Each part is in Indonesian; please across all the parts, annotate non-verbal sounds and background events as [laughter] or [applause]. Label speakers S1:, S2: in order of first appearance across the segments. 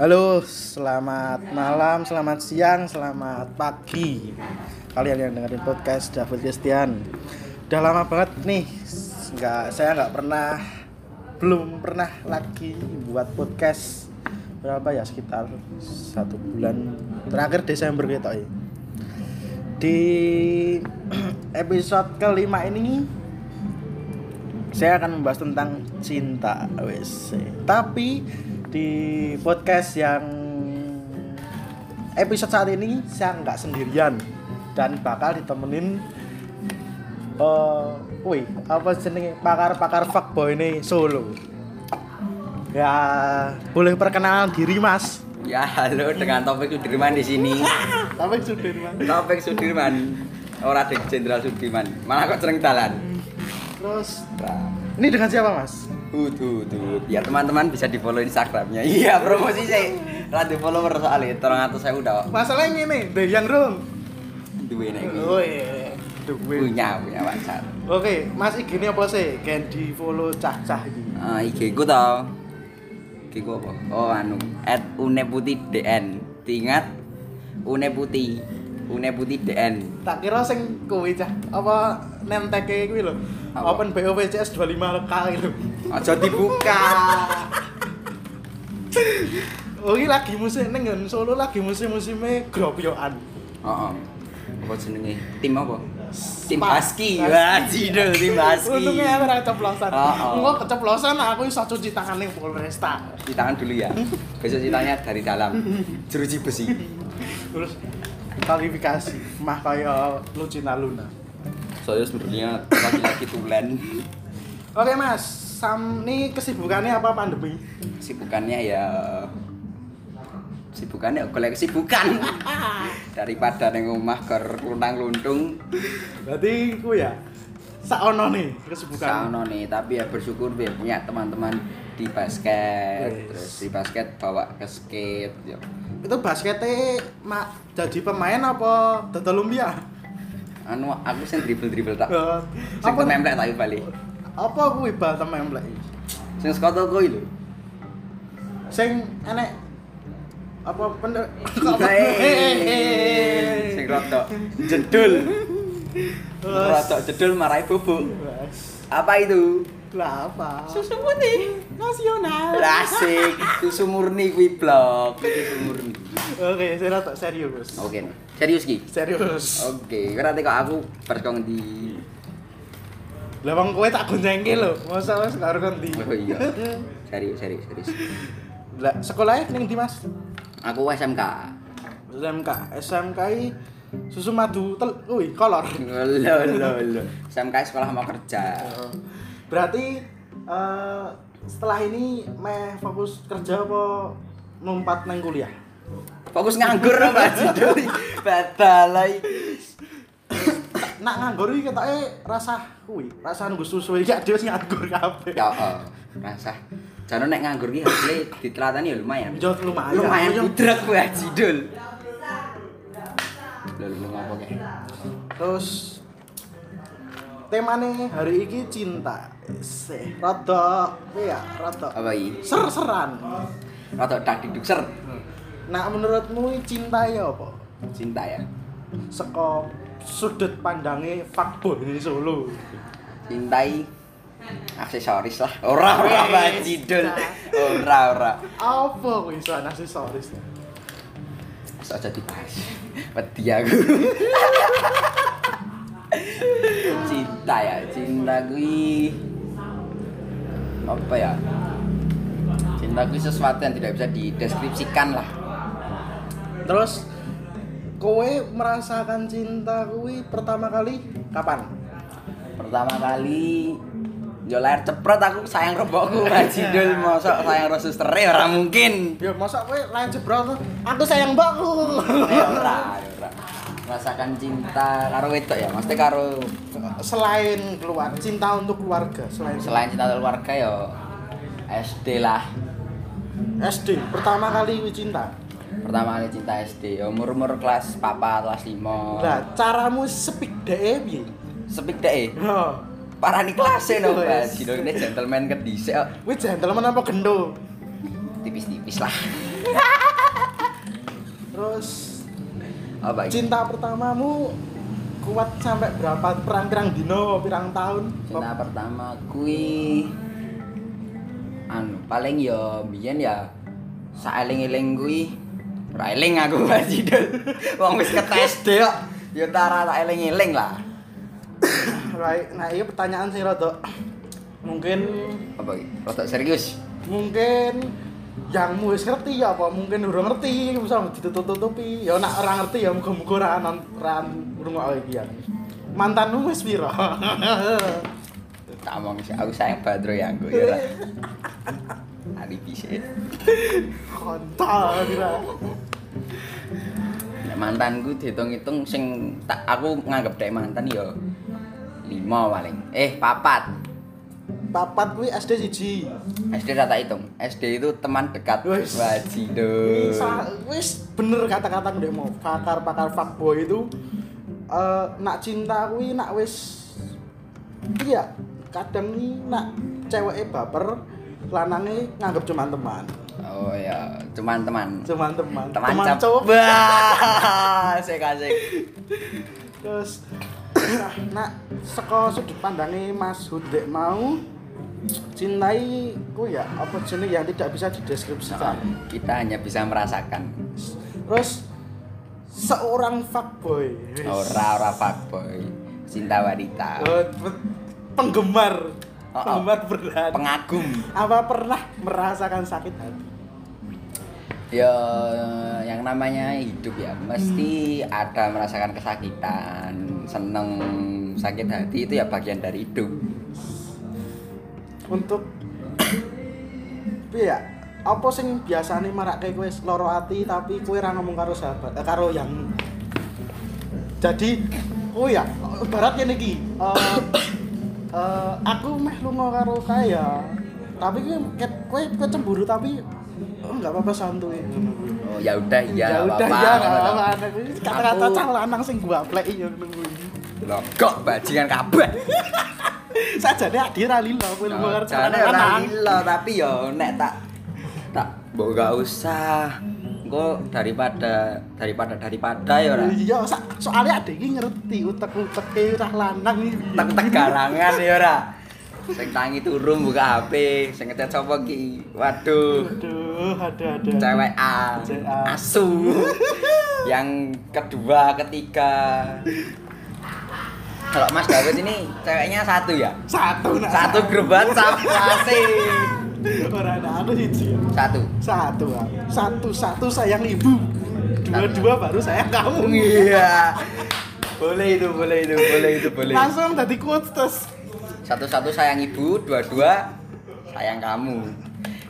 S1: Halo, selamat malam, selamat siang, selamat pagi. Kalian yang dengerin podcast David Christian. Udah lama banget nih, nggak saya nggak pernah, belum pernah lagi buat podcast berapa ya sekitar satu bulan terakhir Desember gitu ya. Di [clears throat] episode kelima ini saya akan membahas tentang cinta WC. Tapi di podcast yang episode saat ini saya nggak sendirian dan bakal ditemenin eh wih apa jenenge pakar-pakar fuckboy ini solo. Ya, boleh perkenalan diri Mas.
S2: Ya halo dengan topik Sudirman di sini.
S1: Tapi Sudirman.
S2: Topik Sudirman. Ora dek Jenderal Sudirman. Malah kok sering dalan.
S1: Terus ini dengan siapa Mas?
S2: Hut hut hut. Ya teman-teman bisa di follow Instagramnya. Iya promosi sih. Rada follower soalnya. Terang atau saya udah
S1: Masalahnya ini, deh yang room.
S2: duwe nek iki.
S1: Oh iya. Duwe.
S2: punya punya WhatsApp.
S1: Oke, Mas IG ini apa sih? Gen di follow cah-cah ini.
S2: Ah IG ku tau. IG ku apa? Oh anu @uneputi_dn. Diingat Uneputi. Uneputi_dn.
S1: tak kira sing kowe cah apa nemteke kuwi lho
S2: Apa?
S1: open BO VCS 25 leka lho
S2: Aja dibuka.
S1: [laughs] oh iki lagi musim ning nggon Solo lagi musim-musime gropyokan
S2: Heeh. Apa jenenge? Tim apa? Tim
S1: Spa-
S2: Husky. Wah, jidul tim Husky.
S1: untungnya aku ora keceplosan
S2: Oh, oh.
S1: engko keceplosan aku iso cuci tangan ning Polresta
S2: Cuci tangan dulu ya. Besok ceritanya dari dalam. Jeruji besi.
S1: terus kualifikasi mah kaya Lucina Luna
S2: Saya sebenarnya laki-laki tulen.
S1: oke mas Sam ini kesibukannya apa pandemi
S2: Sibukannya ya sibukannya
S1: [laughs]
S2: koleksi bukan daripada neng rumah ke luntang luntung
S1: berarti ku ya saono nih kesibukan
S2: Saono nih tapi ya bersyukur ya punya teman-teman di basket
S1: Yes.
S2: terus di basket bawa ke skate ya.
S1: itu basketnya mak jadi pemain apa dodol lumpia
S2: anu aku sih dribble dribble tak
S1: Eh,
S2: sing
S1: apa
S2: tememplek tak balik
S1: apa kuwi bal tememplek iki?
S2: sing skoto kuwi lho
S1: sing enek apa bener
S2: Hei. eh. Sing rotok jedul. Rotok jedul marai bubuk. Apa itu?
S1: lah apa
S2: Susu putih.
S1: nasional
S2: Rasik, susu murni kuwi blok, susu murni.
S1: oke saya rotok serius
S2: Oke. nih. Serius ki.
S1: serius
S2: Oke, berarti kok aku perkong di
S1: lah wong kowe tak goncengke lho masa wis karo ngendi
S2: Oh iya. Serius, serius, serius.
S1: lah sekolahnya ning di Mas
S2: Aku SMK.
S1: SMK SMK i susu madu tel kuwi kolor
S2: Lho lho lho. SMK sekolah mau kerja.
S1: berarti eh, setelah ini meh fokus kerja apa numpat nang kuliah
S2: Fokus nganggur apa judul? Badalai.
S1: nak nganggur iki ketoke rasa kuwi, rasa nggo susu iki dhewe sing nganggur kabeh.
S2: Ya, oh, rasa. Jane nek nganggur ki hasilnya ditelatani ya lumayan.
S1: Yo lumayan.
S2: Lumayan
S1: Yo,
S2: budrek kowe Haji Dul. Lho, lho ngopo kek?
S1: Terus temane hari iki cinta. Sih, rada kuwi ya, rada
S2: Apa iki?
S1: ser-seran.
S2: Rada dak didukser.
S1: Nah, menurutmu cinta ya apa?
S2: Cinta ya.
S1: Seko sudut pandangnya fuckboy ini Solo.
S2: Cintai aksesoris lah. Ora ora apa Haji Dul. Ora ora.
S1: Apa kuwi soal aksesorisnya?
S2: Sok aja dibahas. Wedi aku. cinta ya, cinta kuwi apa ya? Cinta kuwi sesuatu yang tidak bisa dideskripsikan lah.
S1: Terus kowe merasakan cinta kuwi pertama kali kapan?
S2: Pertama kali yo lahir cepret aku sayang rebokku Haji Dul mosok sayang ro sustere ora mungkin.
S1: Ya masa kowe lain jebol tuh. Aku sayang mbakku.
S2: Eh, ora, ora. Rasakan cinta karo wedok ya, mesti karo
S1: selain keluar cinta untuk keluarga, selain
S2: selain cinta keluarga yo SD lah.
S1: SD pertama kali kuwi cinta.
S2: Pertama kali cinta SD, ya umur-umur kelas 4, kelas 5.
S1: Lah, caramu speak DE piye?
S2: Sepik e. deh.
S1: Yo.
S2: Parah nih kelasnya e, no,
S1: Wes.
S2: Mas. Gino ini gentleman ke dhisik kok.
S1: Wih, gentleman apa gendo?
S2: tipis-tipis lah.
S1: Terus
S2: Apa iki?
S1: cinta pertamamu kuat sampai berapa perang-perang dino, pirang tahun?
S2: Cinta pertama kui anu paling ya biyen ya saeling-eling kui ora eling aku Mas Jidul. [laughs] Wong wis ketes deh kok. Ya tara tak eling-eling lah.
S1: [clears throat] Right. Nah, iya pertanyaan sih rada [clears throat] mungkin
S2: Apa iki? Rodok serius.
S1: mungkin yang wis ngerti ya apa mungkin udah ngerti bisa ditutup-tutupi ya nak orang ngerti ya muga-muga ora anan ora ngrungokno iki ya mantanmu wis piro [laughs]
S2: Tak omong sih, aku sayang Badro ya aku ya. Ra. Ali pisik.
S1: kontol kira
S2: Nek mantanku dihitung-hitung sing tak aku nganggep dek mantan ya lima paling. Eh, papat.
S1: papat kuwi SD siji
S2: SD ora tak hitung. SD itu teman dekat.
S1: Wis.
S2: Wajido.
S1: Kuwi sa- wis bener kata-kata ndek mau pakar-pakar fuckboy itu eh, nak cinta kuwi nak wis iya kadang nih nak ceweknya baper lanangnya nganggep cuma teman
S2: Oh ya, cuman teman.
S1: cuman teman
S2: Teman,
S1: teman
S2: cep-
S1: cowok
S2: Bah, Asik asik.
S1: terus nah, nak saka sudut pandangnya Mas Hudek mau cintai ku ya apa jenis yang tidak bisa dideskripsikan
S2: Kita hanya bisa merasakan.
S1: terus seorang fuckboy wis.
S2: Ora ora fuckboy. Cinta wanita.
S1: Eh, pe- penggemar
S2: Oh, oh.
S1: penggemar berat
S2: Pengagum.
S1: apa pernah merasakan sakit hati
S2: Ya yang namanya hidup ya mesti ada merasakan kesakitan, seneng, sakit hati itu ya bagian dari hidup.
S1: untuk piye ya apa sing biasane marake kowe loro ati tapi kowe ora ngomong karo sahabat eh, karo yang jadi oh ya baratnya niki eh eh, aku meh lunga karo kaya tapi kowe ket- kowe kowe cemburu tapi oh, nggak apa-apa santuy
S2: Oh ya udah ya.
S1: ya
S2: nggak
S1: udah
S2: apa-apa,
S1: ya
S2: ngono
S1: nggak
S2: to.
S1: apa-apa Kuwi kata-kata
S2: Aku-
S1: cah lanang sing gua plek yo nunggu
S2: Loh, kok bajingan kabeh.
S1: [laughs] sajane adik ra lilo kowe lunga
S2: Nah,
S1: karo cah
S2: Carane ora
S1: lanang
S2: lila tapi yo nek tak tak mbok gak usah. Engko daripada daripada daripada ya ora.
S1: Iya, sa- soalnya ada yang ngerti utek-uteke utak lanang iki.
S2: Tek-tek galangan ya ora. Sing tangi turu buka HP, sing ngecat sapa ki? Waduh,
S1: Aduh, ada ada.
S2: cewek A.
S1: CA.
S2: [laughs] Asu. Yang kedua, ketiga. Kalau Mas David ini ceweknya satu ya?
S1: Satu nak. [laughs]
S2: Satu geroban sama kelasnya.
S1: Ora ada aku siji.
S2: Satu.
S1: Satu, aku. satu, satu sayang ibu. Dua, dua baru sayang kamu.
S2: Iya. Boleh itu, boleh itu, boleh itu, boleh.
S1: Langsung tadi quotes terus.
S2: Satu-satu sayang ibu, dua-dua sayang kamu.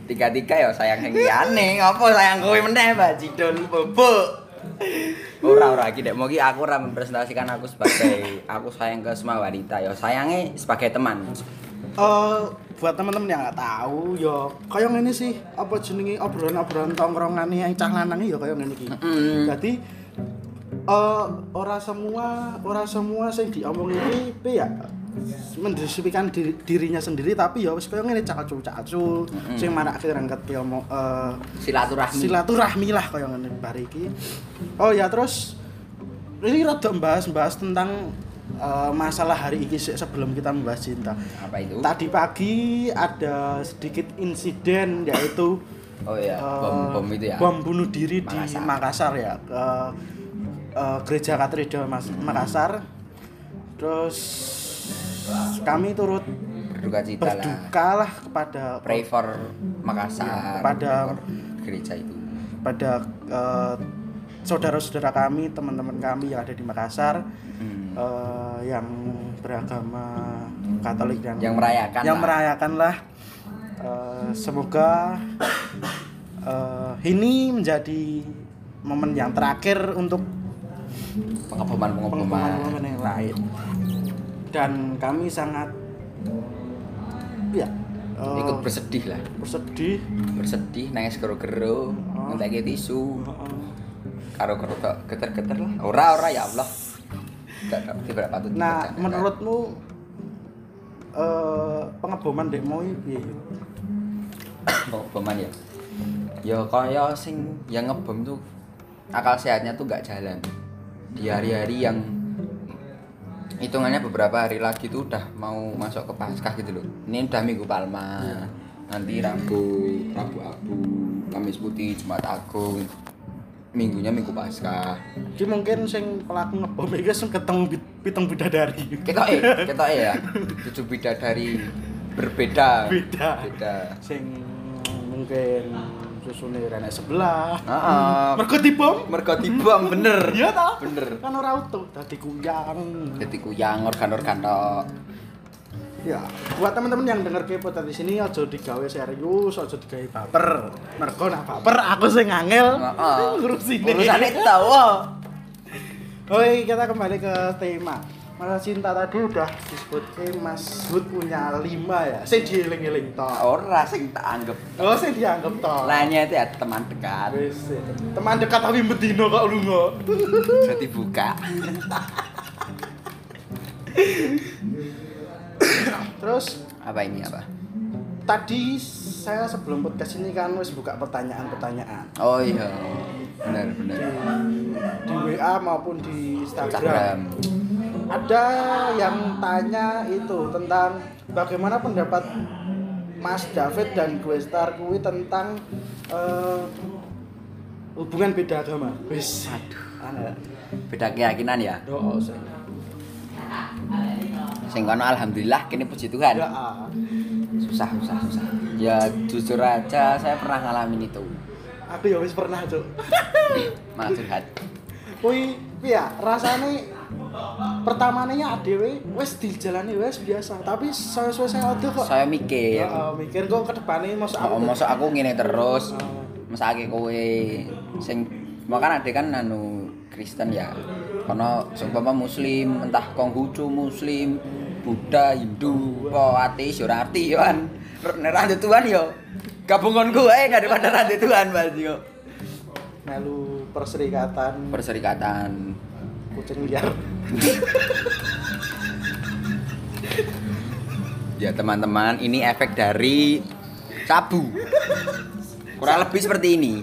S2: Tiga-tiga ya sayang sing liyane, ngopo sayang kowe meneh Mbak Jidul bubuk. Ora ora iki Dek, mau ki aku ora mempresentasikan aku
S1: [laughs]
S2: sebagai aku sayang ke semua wanita ya. Sayangnya sebagai teman.
S1: Eh, buat teman-teman yang nggak tahu, yo kayak ngene sih apa jenenge obrolan-obrolan tongkrongan yang cah lanang ya kayak ngene iki.
S2: Mm-mm.
S1: Jadi eh ora semua ora semua sing diomongin iki piye ya mendeskripsikan diri- dirinya sendiri tapi ya wis kayak ngene cah acu cah acu sing marake rangket ki omong eh,
S2: Silaturahmi.
S1: silaturahmi lah kayak ngene bar iki. Oh ya terus ini rada membahas-bahas tentang eh, masalah hari ini sebelum kita membahas cinta.
S2: Apa itu?
S1: Tadi pagi ada sedikit insiden yaitu
S2: Oh iya,
S1: eh,
S2: bom-bom itu ya.
S1: bom bunuh diri di
S2: Makassar.
S1: Makassar ya, ke eh, gereja katedral Mas
S2: Hmm.
S1: Makassar. Terus kami turut
S2: Berduka cita lah.
S1: berduka Iya, lah kepada
S2: Pray for Makassar.
S1: Kepada-
S2: pray for gereja itu.
S1: kepada eh, saudara-saudara kami, teman-teman kami yang ada di Makassar
S2: Hmm.
S1: eh, yang beragama Katolik dan
S2: Yang merayakan
S1: yang
S2: lah.
S1: merayakan lah. Eh, semoga eh, ini menjadi momen yang terakhir untuk
S2: pengeboman-pengeboman.
S1: pengumuman yang lain dan kami sangat ya eh,
S2: Ikut bersedih lah.
S1: Oh. bersedih
S2: bersedih nangis gero-gero
S1: eh,
S2: ngenteke tisu
S1: Heeh.
S2: karo kerutok geter-geter lah. Ora ora ya Allah. Gak ngerti berapa patut.
S1: Nah,
S2: dipercaya.
S1: menurutmu eh pengeboman dekmu iki piye?
S2: pengeboman ya. Ya kaya sing yang ngebom tuh akal sehatnya tuh gak jalan. Di hari-hari yang hitungannya beberapa hari lagi tuh udah mau masuk ke Paskah gitu loh. Ini udah Minggu Palma. Nanti Rabu, Rabu Abu, Kamis Putih, Jumat Agung. Minggunya Minggu Paskah.
S1: Ki mungkin sing pelaku ngebom iki sing ketemu pit- pitung bidadari.
S2: Ketok eh, ketok eh ya. Tujuh bidadari berbeda.
S1: Beda.
S2: Beda.
S1: Sing mungkin susune renek sebelah.
S2: Heeh.
S1: Mergo dibom.
S2: Mergo dibom Ah. bener.
S1: Iya toh?
S2: Bener. ya
S1: Kan ora utuh dadi kuyang.
S2: Jadi kuyang organ-organ tok.
S1: Ya, buat teman-teman yang denger kepo tadi sini aja digawe serius, aja digawe baper. Mergo nak baper aku sing angel
S2: Heeh.
S1: ngurusine.
S2: Urusane tau.
S1: Oke, kita kembali ke tema. Masalah cinta tadi udah disebutke Mas Hud punya lima ya. Sing dieling-eling to.
S2: Ora sing tak anggap.
S1: Oh, sing dianggep to.
S2: Lainnya itu ya teman dekat.
S1: Wis. Teman dekat tapi bedino kok lunga.
S2: Jadi buka.
S1: Terus
S2: Apa ini apa?
S1: tadi saya sebelum podcast ini kan wis buka pertanyaan-pertanyaan
S2: Oh iya. Bener bener.
S1: di, di WA maupun di Instagram.
S2: Instagram.
S1: Ada yang tanya itu tentang bagaimana pendapat Mas David dan gue Star Kui tentang eh, hubungan beda agama. Wis. Anu. Aduh.
S2: Beda keyakinan ya.
S1: Doa saya.
S2: Sing kono alhamdulillah kini puji Tuhan.
S1: Doa.
S2: Susah susah susah. Ya jujur aja saya pernah ngalamin itu.
S1: Aku ya wis pernah, Cuk.
S2: Mas curhat.
S1: Kui ya rasane pertamanya adewe wis dijalani wis biasa, tapi sesuai saya ada kok.
S2: Saya mikir.
S1: Heeh, mikir kok ke depane mosok aku.
S2: Oh, masa aku ngene terus.
S1: Heeh.
S2: mesake kowe sing makan ade kan anu Kristen ya kono seumpama muslim entah Konghucu muslim Buddha Hindu po ateis yo ora arti yo kan nek ra ndek Tuhan yo gabung kon kowe daripada ra ndek Tuhan Mas yo
S1: melu perserikatan
S2: perserikatan
S1: kucing liar
S2: ya teman-teman ini efek dari sabu kurang lebih seperti ini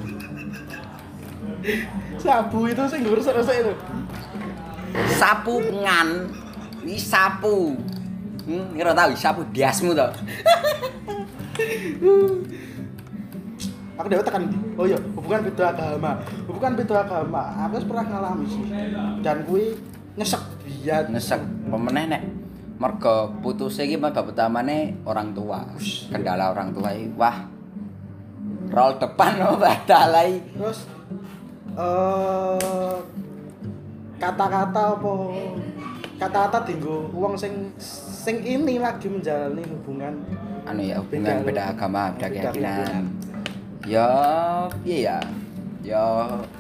S1: sabu itu sing rusak-rusak itu
S2: sapu ngan ini sapu hmm, kira tahu sapu diasmu toh
S1: aku dewe tekan ndi? oh iya hubungan beda agama hubungan beda agama aku wis pernah ngalami sih dan kui nyesek biat
S2: nesek pemeneh nek mergo putuse iki penyebab utamane orang tua kendala orang tua iki wah roll depan [laughs] no badalai
S1: terus eh kata-kata apa kata-kata dinggo wong sing sing ini lagi menjalani hubungan
S2: anu ya
S1: Beda-
S2: hubungan beda agama beda
S1: beda
S2: keyakinan
S1: keyakinan.
S2: ya piye ya ya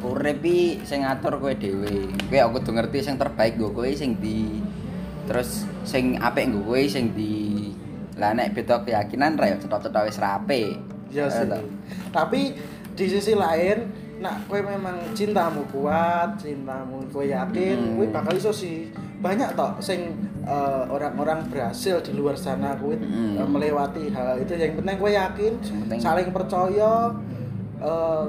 S2: urip iki sing ngatur kowe dhewe kowe aku kudu ngerti sing terbaik nggo kowe sing di terus sing apik nggo kowe sing di lah nek beda keyakinan ra Eh, ya cetok-cetok wis rape
S1: Ya sih. Tapi di sisi lain, nak kue memang cintamu kuat, cintamu kue
S2: Hmm.
S1: yakin, kue bakal iso sih. Banyak toh sing eh, orang-orang berhasil di luar sana kue
S2: Hmm.
S1: eh, melewati hal itu yang penting kue yakin,
S2: Yang penting-
S1: saling percaya eh,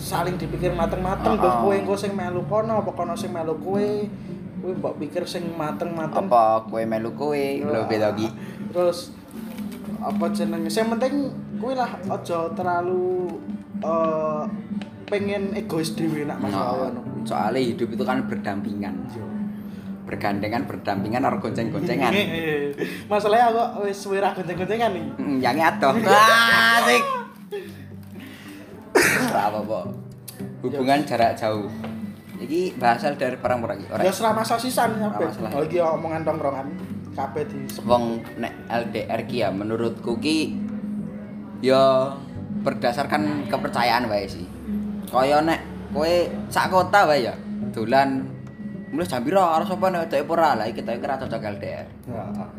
S1: saling dipikir mateng-mateng
S2: Oh,
S1: mbok
S2: oh.
S1: kowe engko sing melu kono apa kono sing melu kowe kowe mbok pikir sing mateng-mateng
S2: apa kowe melu kowe lho beda iki
S1: terus apa jenenge yang penting kuwi lah aja terlalu eh, pengen egois dhewe nak masalah ngono kuwi.
S2: soalnya hidup itu kan berdampingan bergandengan berdampingan harus
S1: [laughs]
S2: gonceng-goncengan
S1: masalahnya aku wis wirah gonceng-goncengan nih
S2: Mm, yang adoh Wah, asik Ora apa-apa hubungan jarak jauh iki berasal dari perang-perang iki ora
S1: ya serah masalah sisan sampe
S2: masalah.
S1: oh iki omongan tongkrongan kabeh di
S2: wong nek LDR ki ya menurutku ki ya berdasarkan kepercayaan wae sih. Kaya nek kowe sak kota wae ya dolan Mulai jam piro harus apa nek dhek ora lah iki dhek ora cocok LDR.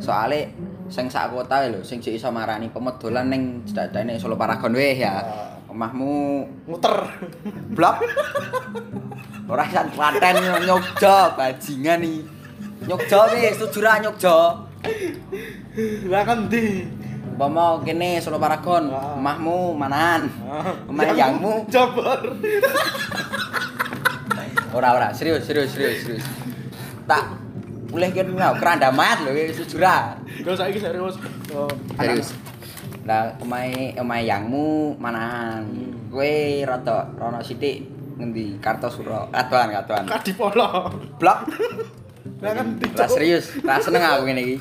S2: Soale sing sak kota lho sing sik iso marani pemedolan ning cedhak-cedhake Solo Paragon weh ya. Omahmu
S1: Muter.
S2: blok. [laughs] Ora isan klaten nyogja bajingan iki. Nyogja wis setuju ra nyogja.
S1: Lah kan di.
S2: Umpama kene Solo Paragon,
S1: Ah.
S2: omahmu manan. Omah yangmu
S1: Jabar.
S2: ora ora serius serius serius serius. Tak mulih kene ngau kerandamat lho wis setuju ra.
S1: Gak usah iki serius. Oh,
S2: Serius. Lah omahe omahe yangmu manahan. Kowe rada rono sithik ngendi Kartosuro. Katuan katuan.
S1: Kak dipolo.
S2: Blok.
S1: Lah kan di.
S2: Lah serius, lah seneng aku ngene iki.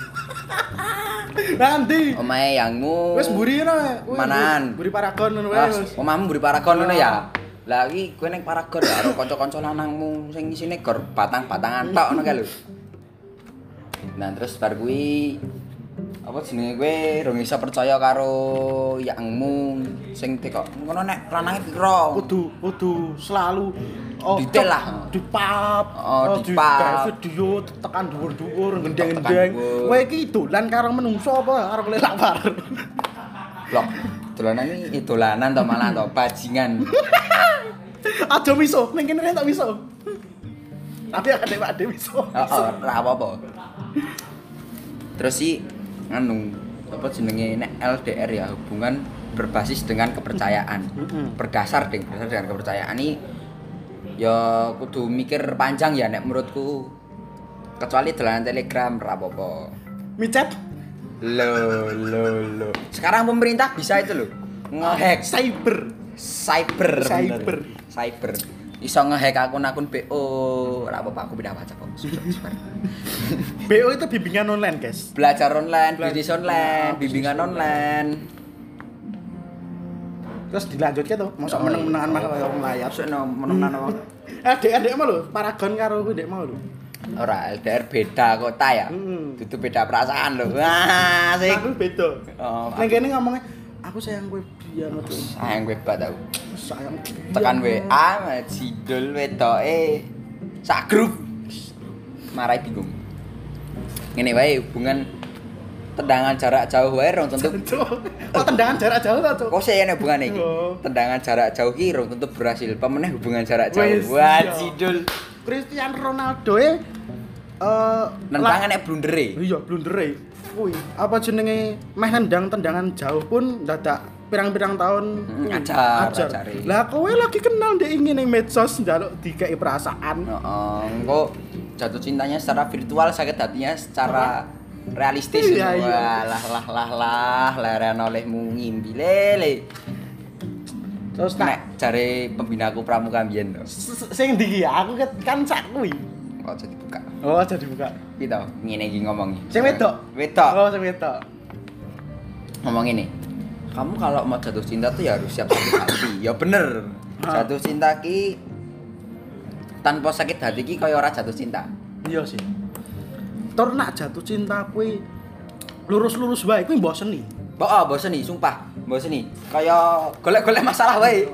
S1: Lah kan di.
S2: Omahe yangmu.
S1: Wis mburi ngono. weh.
S2: Manahan.
S1: Mburi paragon ngono
S2: Lah,
S1: wae wis.
S2: omamu mburi paragon ngono ya. Lah iki kowe ning paragon ya karo kanca-kanca lanangmu sing isine gor batang-batangan tok ngono kae lho. Nah, terus bar kuwi apa jenenge kowe rong iso percaya karo yangmu sing teko. Ngono nek lanange pira?
S1: Kudu kudu selalu oh,
S2: Detail lah.
S1: Dipap.
S2: Oh,
S1: di
S2: dipap.
S1: kayak video tekan dhuwur-dhuwur,
S2: Tekan
S1: gendeng-gendeng.
S2: dhuwur.
S1: Kowe iki dolan karo menungso apa karo lelak bar? [laughs]
S2: Blok. Dolanan iki dolanan to malah to bajingan.
S1: Aja miso, ning kene tak miso. Tapi akan dewek ade miso.
S2: Heeh, ora apa-apa. Terus sih anu, apa jenenge nek LDR ya hubungan berbasis dengan kepercayaan.
S1: Mm-mm.
S2: Berdasar ding, berdasar dengan kepercayaan ini ya kudu mikir panjang ya nek menurutku. Kecuali dolanan Telegram ora apa-apa.
S1: Micet
S2: Lo lo lo. Sekarang pemerintah bisa itu loh. Ngehack
S1: cyber.
S2: cyber
S1: Cyber.
S2: bener. cyber iso ngehack akun akun BO ora apa-apa aku pindah WhatsApp kok Sudah, sudah.
S1: BO itu bimbingan online, guys.
S2: belajar online
S1: Belajar-
S2: bisnis online bimbingan online
S1: Terus dilanjutke tuh, mosok
S2: Oh,
S1: meneng-menengan
S2: iya.
S1: mah kaya wong layar.
S2: Maksudnya no menengan wong
S1: Eh, dek-dek mah lho, paragon karo kuwi dek mau lho.
S2: ora LDR beda kota ya
S1: Hmm.
S2: itu beda perasaan loh wah sih
S1: Aku beda.
S2: Oh,
S1: Ning kene ngomongnya aku sayang kowe dia ngono.
S2: sayang gue banget aku
S1: Sayang. dia.
S2: tekan WA mah jidul wetoke sak grup marai bingung ngene wae hubungan tendangan jarak jauh wae rong tentu
S1: Cuk. Oh, tendangan jarak jauh ta, Cuk?
S2: Kok sih enak hubungan iki?
S1: Oh.
S2: Tendangan jarak jauh ki rong tentu berhasil. Pemenang hubungan jarak
S1: Wes,
S2: jauh. Wah,
S1: iya.
S2: jidul.
S1: Cristiano Ronaldo e eh la-
S2: Nentangan nek blundere.
S1: Iya, blundere. Kuwi apa jenenge meh nendang tendangan jauh pun dadak pirang-pirang tahun
S2: Hmm, e.
S1: kuwi,
S2: ajar, ajari.
S1: Lah kowe lagi kenal ndek ing ning medsos njaluk dikeki
S2: Oh.
S1: perasaan.
S2: Heeh, engko jatuh cintanya secara virtual sakit hatinya secara realistis.
S1: Iya, iya.
S2: Wah, lah lah lah lah, leren olehmu ngimpi lele.
S1: Terus tak
S2: Nek jare pembinaku pramuka mbiyen to.
S1: s- s- sing ndi iki? aku ket- kan sak kuwi.
S2: Kok jadi buka.
S1: Oh, jadi buka.
S2: Iki to, ngene iki ngomongi.
S1: Sing wedok.
S2: Wedok.
S1: Oh, sing wedok.
S2: ngomong ini kamu kalau mau jatuh cinta tuh ya harus siap sakit hati ya bener
S1: Ah.
S2: jatuh cinta ki tanpa sakit hati ki kaya ora jatuh cinta
S1: Iya sih. Tur nak jatuh cinta kuwi lurus-lurus wae kuwi bosen nih.
S2: Bo, oh, bosen nih, sumpah, bosen nih. Kaya golek-golek masalah wae.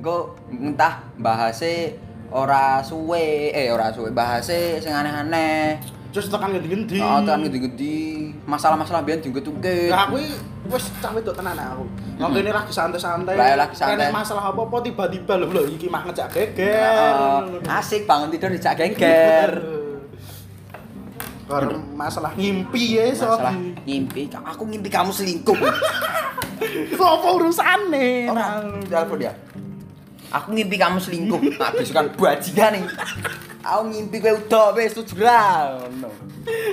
S2: Engko entah bahase ora suwe, eh ora suwe, bahase sing aneh-aneh.
S1: Terus tekan ngendi-ngendi.
S2: Oh, tekan gede-gede, masalah-masalah biyen diungkit-ungkit.
S1: Lah kuwi wis cah wedok tenan aku. Wong kene lagi santai-santai.
S2: Lah, lagi santai.
S1: Kene masalah apa-apa tiba-tiba lho lho iki mah ngejak geger.
S2: Heeh. Asik bangun tidur dijak gengger.
S1: Karena masalah ngimpi ya so.
S2: Masalah ngimpi, aku ngimpi kamu selingkuh.
S1: Sopo urusane?
S2: Orang telepon dia. Aku ngimpi kamu selingkuh. Nah, besok kan bajingan nih. Aku ngimpi kowe udah wis setuju ra ngono.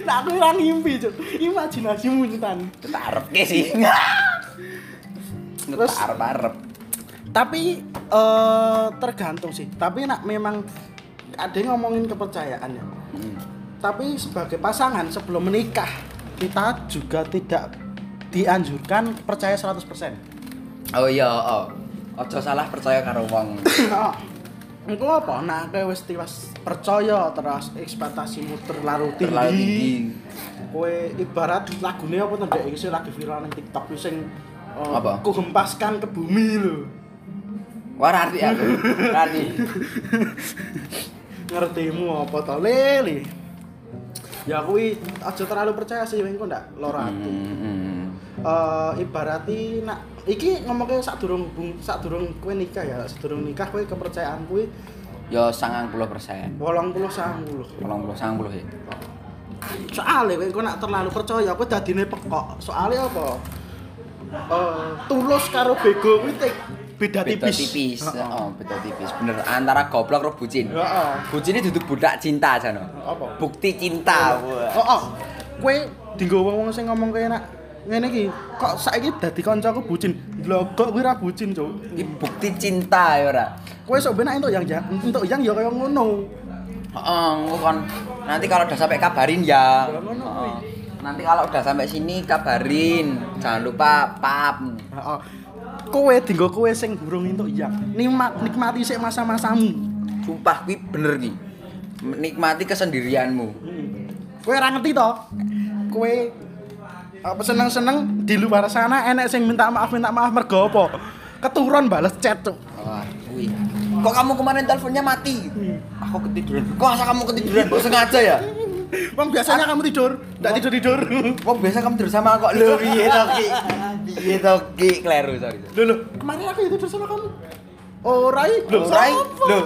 S1: Nah, aku ora ngimpi, Cuk. Imajinasimu nyetan.
S2: Tak arepke sih. Terus
S1: Terus-
S2: arep-arep.
S1: Tapi eh tergantung sih. Tapi nak memang ada yang ngomongin kepercayaan ya.
S2: Hmm.
S1: Tapi sebagai pasangan sebelum menikah kita juga tidak dianjurkan percaya 100%.
S2: Oh iya, oh. Ojo salah percaya karo wong. Hmm.
S1: [coughs] Engko apa nek kowe wis tiwas percaya terus ekspektasimu terlalu tinggi.
S2: Terlalu tinggi.
S1: Kowe ibarat lagune apa tendek iki sing lagi viral ning TikTok iki sing eh,
S2: Apa?
S1: kuhempaskan ke bumi lho.
S2: Wah, arti aku. Arti.
S1: ngertimu apa to lele ya kuwi aja terlalu percaya sih engko ndak loro ati
S2: Hmm, hmm.
S1: Eh, ibarati nak iki ngomongnya sak durung sak durung kue nikah ya sedurung nikah kue kepercayaan kue
S2: Yo 90%.
S1: wolong puluh sanggul
S2: 80 90 ya.
S1: soalnya kue kue nak terlalu percaya kue dadine pekok soalnya apa Eh, tulus karo bego kue tek beda
S2: Beda
S1: tipis
S2: tipis.
S1: Heeh.
S2: Oh, beda tipis. Bener antara goblok karo bucin.
S1: Heeh.
S2: Bucin ini duduk budak cinta aja
S1: Apa?
S2: Bukti cinta.
S1: Oh, oh. Kowe dinggo wong-wong sing ngomong kaya nak ngene iki, kok saiki dadi kancaku bucin. Lho kok kuwi ra bucin, Cuk.
S2: Ini bukti cinta ya ora.
S1: Kowe sok benak entuk yang ya, entuk yang ya kaya ngono.
S2: Heeh, engko kon nanti kalau udah sampai kabarin ya.
S1: Ya, ngono
S2: Heeh. Nanti kalau udah sampai sini kabarin. Jangan lupa pap.
S1: Heeh. Oh, Kowe dinggo kowe sing burung entuk yang. Nikmat nikmati sik masa-masamu.
S2: Sumpah kuwi bener ki. Menikmati kesendirianmu.
S1: Kowe ora ngerti to? Kowe apa seneng-seneng di luar sana enek sing minta maaf minta maaf mergo apa? Keturun bales chat, Cuk.
S2: Wah, wih. Kok kamu kemarin teleponnya mati?
S1: Iya.
S2: Aku ketiduran. Kok asa kamu ketiduran? Kok sengaja ya?
S1: Wong biasanya kamu tidur, ndak tidur-tidur.
S2: Kok biasa kamu tidur sama kok lu piye to ki? Piye to ki kleru sorry.
S1: Loh, loh, kemarin aku tidur sama kamu. Oh, Rai, loh,
S2: Loh, Rai,
S1: siapa?
S2: loh.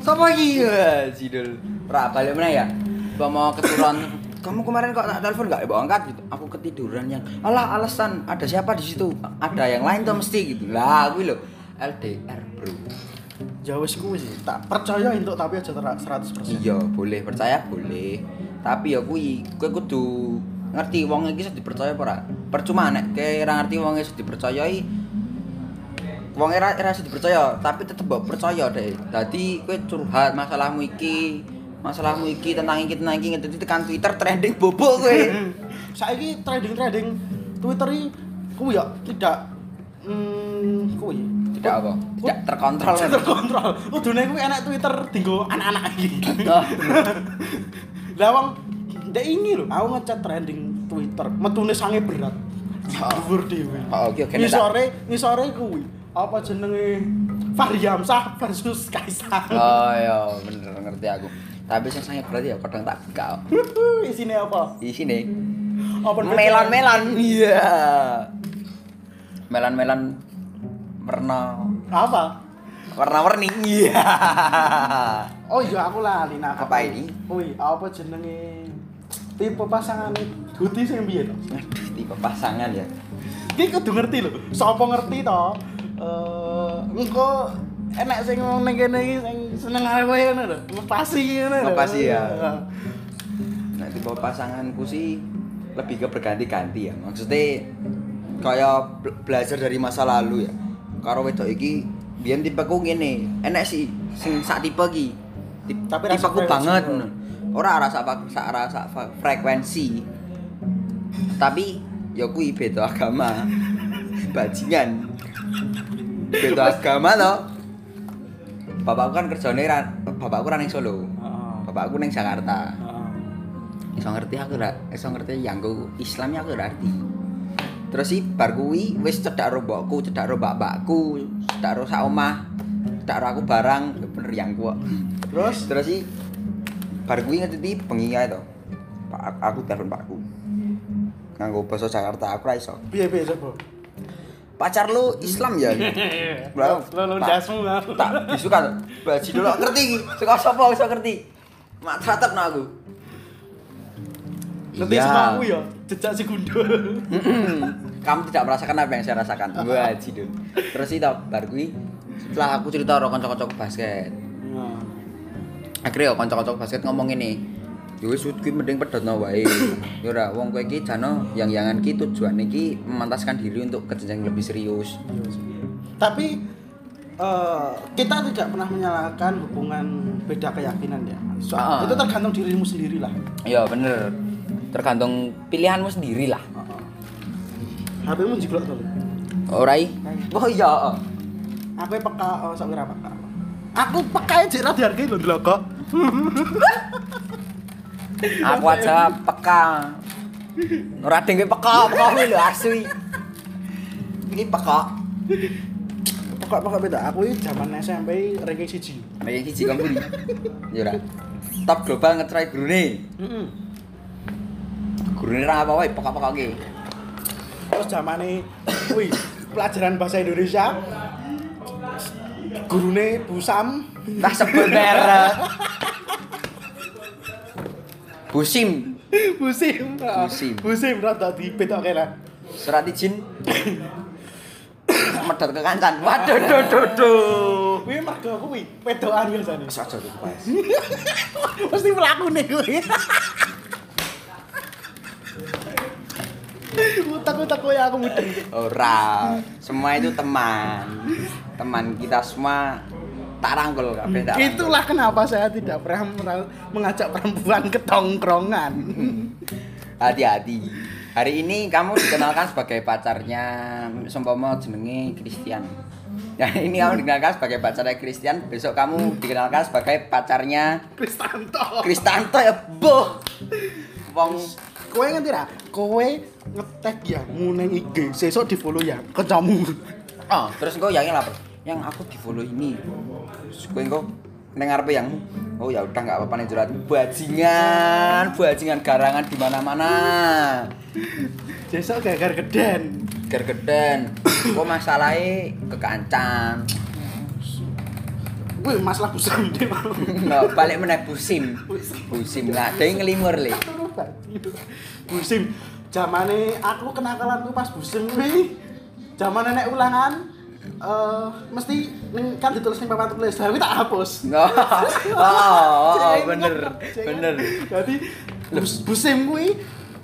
S2: Sapa iki? Wah, Sidul. Ra balik meneh ya. Gua mau keturun. [coughs] Kamu kemarin kok tak telepon nggak ibu angkat gitu? Aku ketiduran yang alah alasan ada siapa di situ? Ada yang lain tuh mesti gitu. Lah, gue lo LDR bro.
S1: Ya wis kuwi sih, tak percaya entuk tapi aja ter- 100%.
S2: Iya, boleh percaya boleh. Tapi ya kuwi, kowe kudu ngerti wong iki iso dipercaya apa ora. Percuma nek kowe ora ngerti wong iso dipercayai wong ora ora iso dipercaya, tapi tetep mbok percaya deh. Dadi kowe curhat masalahmu iki, masalahmu iki tentang iki tentang iki ngerti tekan Twitter trending bobo kowe.
S1: Hmm. [laughs] Saiki trading-trading Twitter iki kuwi ya tidak hmm kuwi
S2: Tidak apa? Tidak terkontrol.
S1: Saya terkontrol. Kudune kuwi enak Twitter dinggo anak-anak iki.
S2: [laughs] Oh.
S1: [laughs] Lah wong ndek ini lho, aku ngecat trending Twitter, metune sange berat. Dhuwur dhewe.
S2: Oh, oke, oke, nek tak-
S1: Ngisore, ngisore kuwi apa jenenge Fahri Hamzah versus Kaisar. [laughs]
S2: Oh ya, bener ngerti aku. Tapi sing sange berarti ya kadang tak buka.
S1: Isine apa?
S2: Di sini
S1: Open BCA.
S2: melon-melon iya melon-melon warna
S1: Apa?
S2: warna-warni iya
S1: Oh iya aku lali nah.
S2: Apa ini?
S1: Kuwi apa jenenge tipe pasangane Duti sing piye to?
S2: aduh tipe pasangan ya
S1: Ki kudu ngerti lho. Sopo ngerti to? Eh, engko enak sing ngomong ning kene iki sing seneng arep ngono lho. Ngepasi ngono lho.
S2: Ngepasi ya. nah tipe pasanganku sih lebih ke berganti-ganti ya maksudnya kayak bel- belajar dari masa lalu ya karo wedok iki biyen tipeku ngene enek sih sing sak tipe iki Tip-
S1: Tapi rasa
S2: tipeku
S1: frekuensi
S2: banget
S1: kok.
S2: ora rasa pak- sak rasa fa- frekuensi tapi ya kuwi beda agama [laughs] bajingan beda agama toh bapakku kan kerjane ra- bapakku ra ning Solo
S1: Heeh.
S2: bapakku ning Jakarta iso ngerti aku ra iso ngerti ya, yanggo Islamnya aku ra ngerti terus si bar kuwi wis cedak ro mbokku cedak ro mbak-mbakku cedak ro sak omah cedak ro aku barang Ya bener yangku kok
S1: Terus
S2: terus si bar kuwi ngerti bengi ae to pak aku telepon pakku nganggo basa Jakarta aku ra iso
S1: piye-piye sopo?
S2: pacar lu Islam ya
S1: Bro, lu jasmu lah.
S2: tak disuka tuh baji dulu ngerti iki. suka sapa iso ngerti mak tatap nang aku
S1: Ngerti
S2: Iya.
S1: sama aku ya, jejak si gundul.
S2: Mm-mm. kamu tidak merasakan apa yang saya rasakan [laughs] baji dulu terus itu bar kuwi setelah aku cerita karo kanca-kancaku basket akhirnya ya kanca-kanca basket ngomong ini ya wis kuwi mending pedhotno [laughs] wae ya ora wong kowe iki jano yang-yangan ki tujuan iki memantaskan diri untuk kejenjang lebih serius
S1: Tapi eh, kita tidak pernah menyalahkan hubungan beda keyakinan ya. Soal
S2: Ah.
S1: itu tergantung dirimu sendiri lah.
S2: ya bener tergantung pilihanmu sendiri lah
S1: HP-mu jiglok to.
S2: Orai? Oh iya.
S1: Aku peka oh sak ora peka. Aku peka jek ra dihargai lho ndelok kok.
S2: Aku aja peka. Ora dengke peka, peka kuwi lho asli. Iki peka.
S1: kok kok beda. Aku iki zaman SMP ranking 1.
S2: Main siji kamu nih. Yo Ya ora. Top global ngetrai gurune.
S1: Heeh.
S2: Gurune ra ya, apa wae pokok-pokok ki.
S1: Terus zamane kuwi pelajaran bahasa Indonesia gurune Bu Sam
S2: Nah sebut merek. Busim
S1: [laughs] Busim.
S2: Busim.
S1: Busim rada dibetok kene.
S2: surat izin. Medot ke kancan. Waduh duh duh duh.
S1: Kuwi mergo kuwi pedokan biasane.
S2: Wis aja tuh, Mas.
S1: [laughs] Mesti mlakune kuwi. Utak-utak koyo aku mudeng.
S2: Ora. Semua itu teman. Teman kita semua tak rangkul kabeh tak. rangkul.
S1: Mm, Itulah kenapa saya tidak pernah mera- mengajak perempuan ke tongkrongan.
S2: Hmm. Hati-hati. Hari ini kamu dikenalkan sebagai pacarnya sempoma jenenge Christian. Ya ini kamu dikenalkan sebagai pacarnya Christian, besok kamu dikenalkan sebagai pacarnya
S1: Kristanto.
S2: Kristanto ya, boh. Wong
S1: Kowe ngerti ra? Kowe ngetek ya nguneng IG, sesuk di-follow ya kancamu.
S2: oh, terus engko yang lapor. Yang aku di-follow ini. Terus kowe engko ning ngarepe yang Oh ya udah nggak apa-apa nih jerat bajingan, bajingan garangan di mana-mana.
S1: Sesuk gagar geden.
S2: Gergeden. Kok masalahnya kekancan.
S1: Kuwi masalah busam dhewe.
S2: [laughs] Nggak, Oh, balik meneh busim. Busim lah, dia ngelimur le.
S1: Busim zamane aku kenakalanku pas busim kuwi. Zaman nenek ulangan eh mesti ning kan ditulis ning papan tulis. Lah kuwi tak hapus.
S2: [laughs] Oh, oh, oh,
S1: Jengen,
S2: bener,
S1: jengen.
S2: bener.
S1: Dadi bus- busim kuwi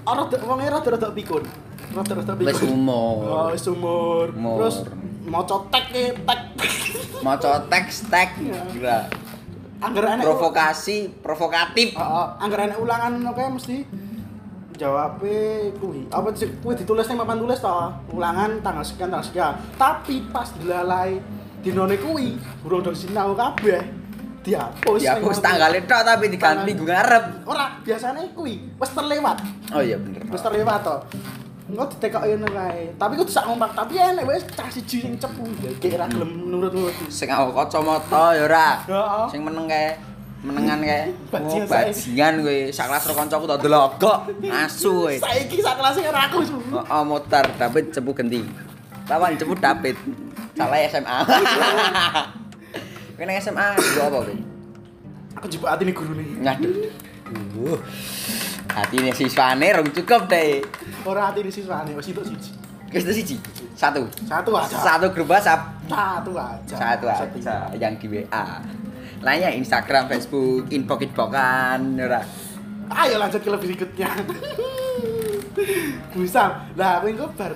S1: ana wong e rada-rada pikun. Rada-rada
S2: Wis
S1: pikun. Oh,
S2: umur.
S1: wis umur.
S2: Umur.
S1: Terus maca tek e, tek.
S2: Maca teks tek gila.
S1: Angger enek
S2: Provokasi, provokatif.
S1: Heeh, angger enek ulangan ngono kae mesti jawabe kuwi. Apa sih kuwi ditulis ning papan tulis to? Ulangan tanggal sekian tanggal sekian. Tapi pas dilalai dinone kuwi burung dong sinau kabeh dihapus.
S2: Dihapus
S1: Ning-
S2: tanggalnya tok tapi diganti minggu ngarep.
S1: Ora, biasanya kuwi wis terlewat.
S2: Oh iya bener.
S1: Wis terlewat to. Engko ditekoki ngono kae. Tapi kudu sak ngompak, tapi enek wis cah siji sing cepu. Gek ra gelem nurut-nurut.
S2: Sing aku kacamata ya ora.
S1: Heeh.
S2: Sing meneng kae. Menengan kae. Oh,
S1: Bajingan saya.
S2: bajingan kowe. Sak kelas karo kancaku tak delok kok. Asu kowe.
S1: Saiki sak kelas karo aku. Su.
S2: Oh, oh motor David cepu genti. Lawan cepu David. Salah SMA. Kena SMA dulu apa kowe?
S1: Aku jebak atine gurune.
S2: Ngaduh. Uh. Hatine siswane rong cukup deh.
S1: Ora atine siswane wis itu siji.
S2: Wis itu siji. Satu.
S1: Satu aja.
S2: Satu grup WhatsApp.
S1: Satu aja.
S2: Satu aja yang di WA. Lainnya ya Instagram, Facebook, inbox inboxan ya ora.
S1: Ayo lanjut ke lebih berikutnya. Bisa. Lah, aku engko bar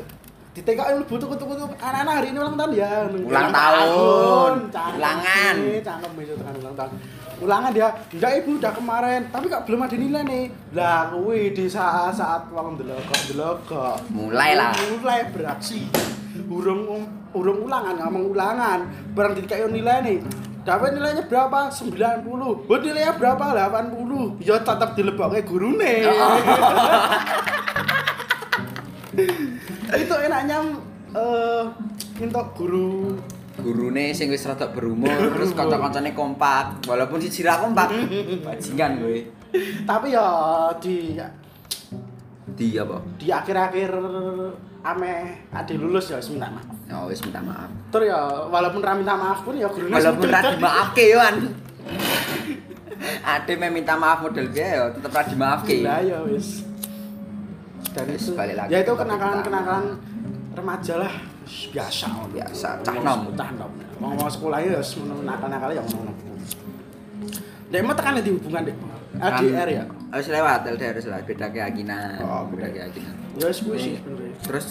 S1: ditekoki mlebu tuku-tuku anak-anak hari ini ulang tahun ya.
S2: Ulang tahun.
S1: Cakep.
S2: Ulangan.
S1: Eh, Cakep besok tekan ulang tahun. Ulangan dia. Enggak ibu udah kemarin, tapi kok belum ada nilai nih. Lah, kuwi di saat-saat wong ndelok ndelok.
S2: Mulai lah.
S1: Mulai beraksi. Urung urung ulangan, ngomong ulangan. Barang ditekoki nilai nih. Dapat nilainya berapa? 90. Oh, nilainya berapa? 80. Ya tetap dilebokke gurune.
S2: Oh.
S1: [laughs] itu enaknya eh minta guru
S2: Gurune sing wis rada berumur terus kanca-kancane kompak. Walaupun siji ra
S1: [laughs]
S2: kompak. Bajingan kowe.
S1: tapi ya di
S2: Di apa?
S1: di akhir-akhir ame ade lulus ya wis minta maaf
S2: Ya wis minta maaf.
S1: Tur ya walaupun ra minta maaf pun ya gurune
S2: Walaupun
S1: sudah.
S2: ra dimaafke yo an. Ade meh minta maaf model piye yo tetep ra dimaafke.
S1: Lah ya wis. Dan
S2: Wis,
S1: itu
S2: balik lagi
S1: ya itu
S2: ke topik
S1: kenakalan-kenakalan remaja lah Wis, biasa ngono.
S2: Biasa, cah nom.
S1: cah nom. Ngomong sekolah ya wis ngono nakal-nakal ya ngono. Dek mau tekan di hubungan dek. LDR ya.
S2: Kan Harus lewat LDR harus lewat beda keyakinan.
S1: Oh,
S2: beda
S1: beda.
S2: keyakinan.
S1: Ya wis kuwi
S2: Iya.
S1: sih sebenarnya.
S2: Terus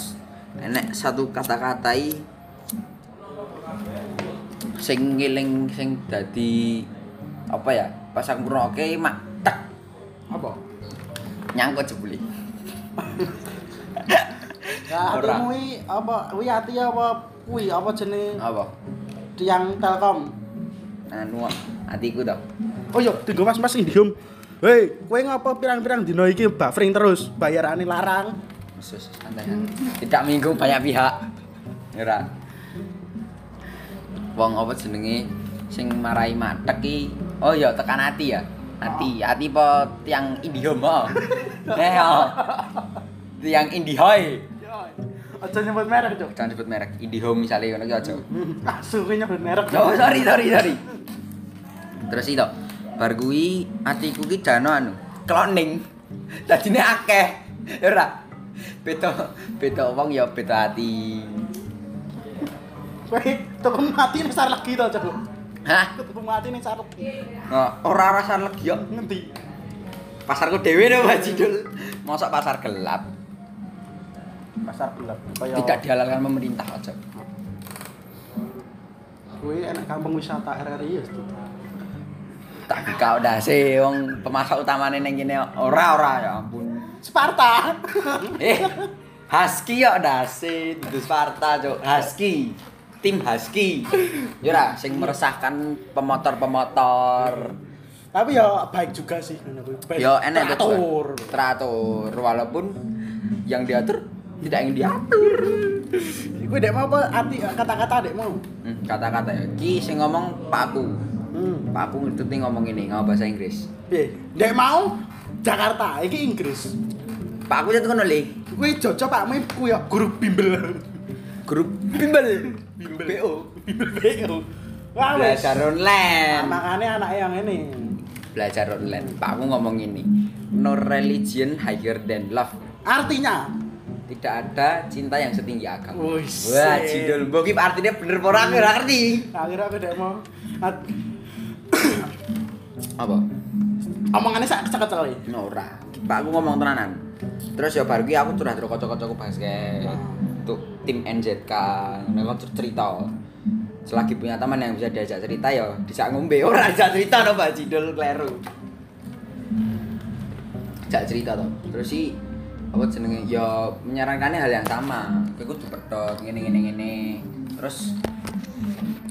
S2: enek satu kata-kata i sing ngiling sing dadi apa ya? Pas aku ngrungokke mak tek
S1: Apa?
S2: nyangkut jebule.
S1: Ya
S2: Ora.
S1: atimu i apa kuwi ati apa kuwi apa jenenge
S2: Apa?
S1: tiang Telkom.
S2: Anu atiku to.
S1: Oh iya, tiga mas-mas Indium. Hei, kowe ngapa pirang-pirang dino iki buffering terus? Bayarane larang.
S2: Sus, santai. Tidak minggu banyak pihak. Ora. wong apa jenenge sing marai matek ki. Oh ya tekan ati ya. Ati, ati po tiang Indihome. oh. Eh. oh. Tiang Indihoi.
S1: Aja nyebut merek, Cuk.
S2: Jangan sebut merek. Indihome misalnya ngono ki aja.
S1: Asu ki nyebut merek. Cuk.
S2: Oh, sorry, sorry, sorry. Terus itu, bar kuwi atiku ki jano anu, kloning. Dadine akeh. Ya ora. Beda beda wong ya beda ati.
S1: Weh, tuku mati nih sar lagi to, Cuk.
S2: Hah?
S1: Tuku mati nih sar lagi.
S2: Nah, ora rasa legi kok.
S1: Ngendi?
S2: Pasarku dhewe no Pak Jidul. Mosok pasar gelap.
S1: Pasar gelap.
S2: Tidak dihalalkan pemerintah aja.
S1: Kuwi enak kampung wisata RRI ya, Cuk.
S2: Tak buka udah sih wong pemasok utamane ning kene ora ora ya ampun.
S1: Sparta. [laughs]
S2: Eh, Husky ya dasi, dudu Sparta cok. Husky, tim Husky. Ya ora, sing meresahkan pemotor-pemotor.
S1: Tapi ya baik juga sih ngono kuwi. Baik.
S2: Ya enak betul.
S1: teratur.
S2: Teratur, walaupun yang diatur tidak yang diatur.
S1: Kuwi dek mau apa arti kata-kata dek mau?
S2: Hmm, Kata-kata ya, ki sing ngomong pakku.
S1: Hmm.
S2: Pakku ngerti ngomong ini, ngomong bahasa Inggris.
S1: Piye? Dek mau Jakarta, iki Inggris.
S2: Pakku itu ngono le.
S1: Kuwi jojo pakmu kuwi ya guru bimbel.
S2: Grup bimbel.
S1: Bimbel BO, bimbel BO. Wah, wes.
S2: Belajar online.
S1: Makane anake yang ini.
S2: belajar online. Pak aku ngomong ini, no religion higher than love.
S1: Artinya,
S2: Tidak ada cinta yang setinggi agama.
S1: Wih,
S2: Wah,
S1: sip.
S2: jidul bokip artinya bener apa ora aku ora ngerti.
S1: akhirnya Nah, aku dek mau at-
S2: Apa?
S1: omongannya sak kecel
S2: No, ora. Pak aku ngomong tenanan. Terus ya baru iki aku curhat karo kocok-kocokku basket. Untuk tim NZK, ngono aku cerita. Selagi punya teman yang bisa diajak cerita ya, bisa ngombe ora ajak cerita no Pak Jidul kleru. jak cerita toh terus si apa jenenge ya menyarankannya hal yang sama kowe kudu pedot ngene ngene ngene terus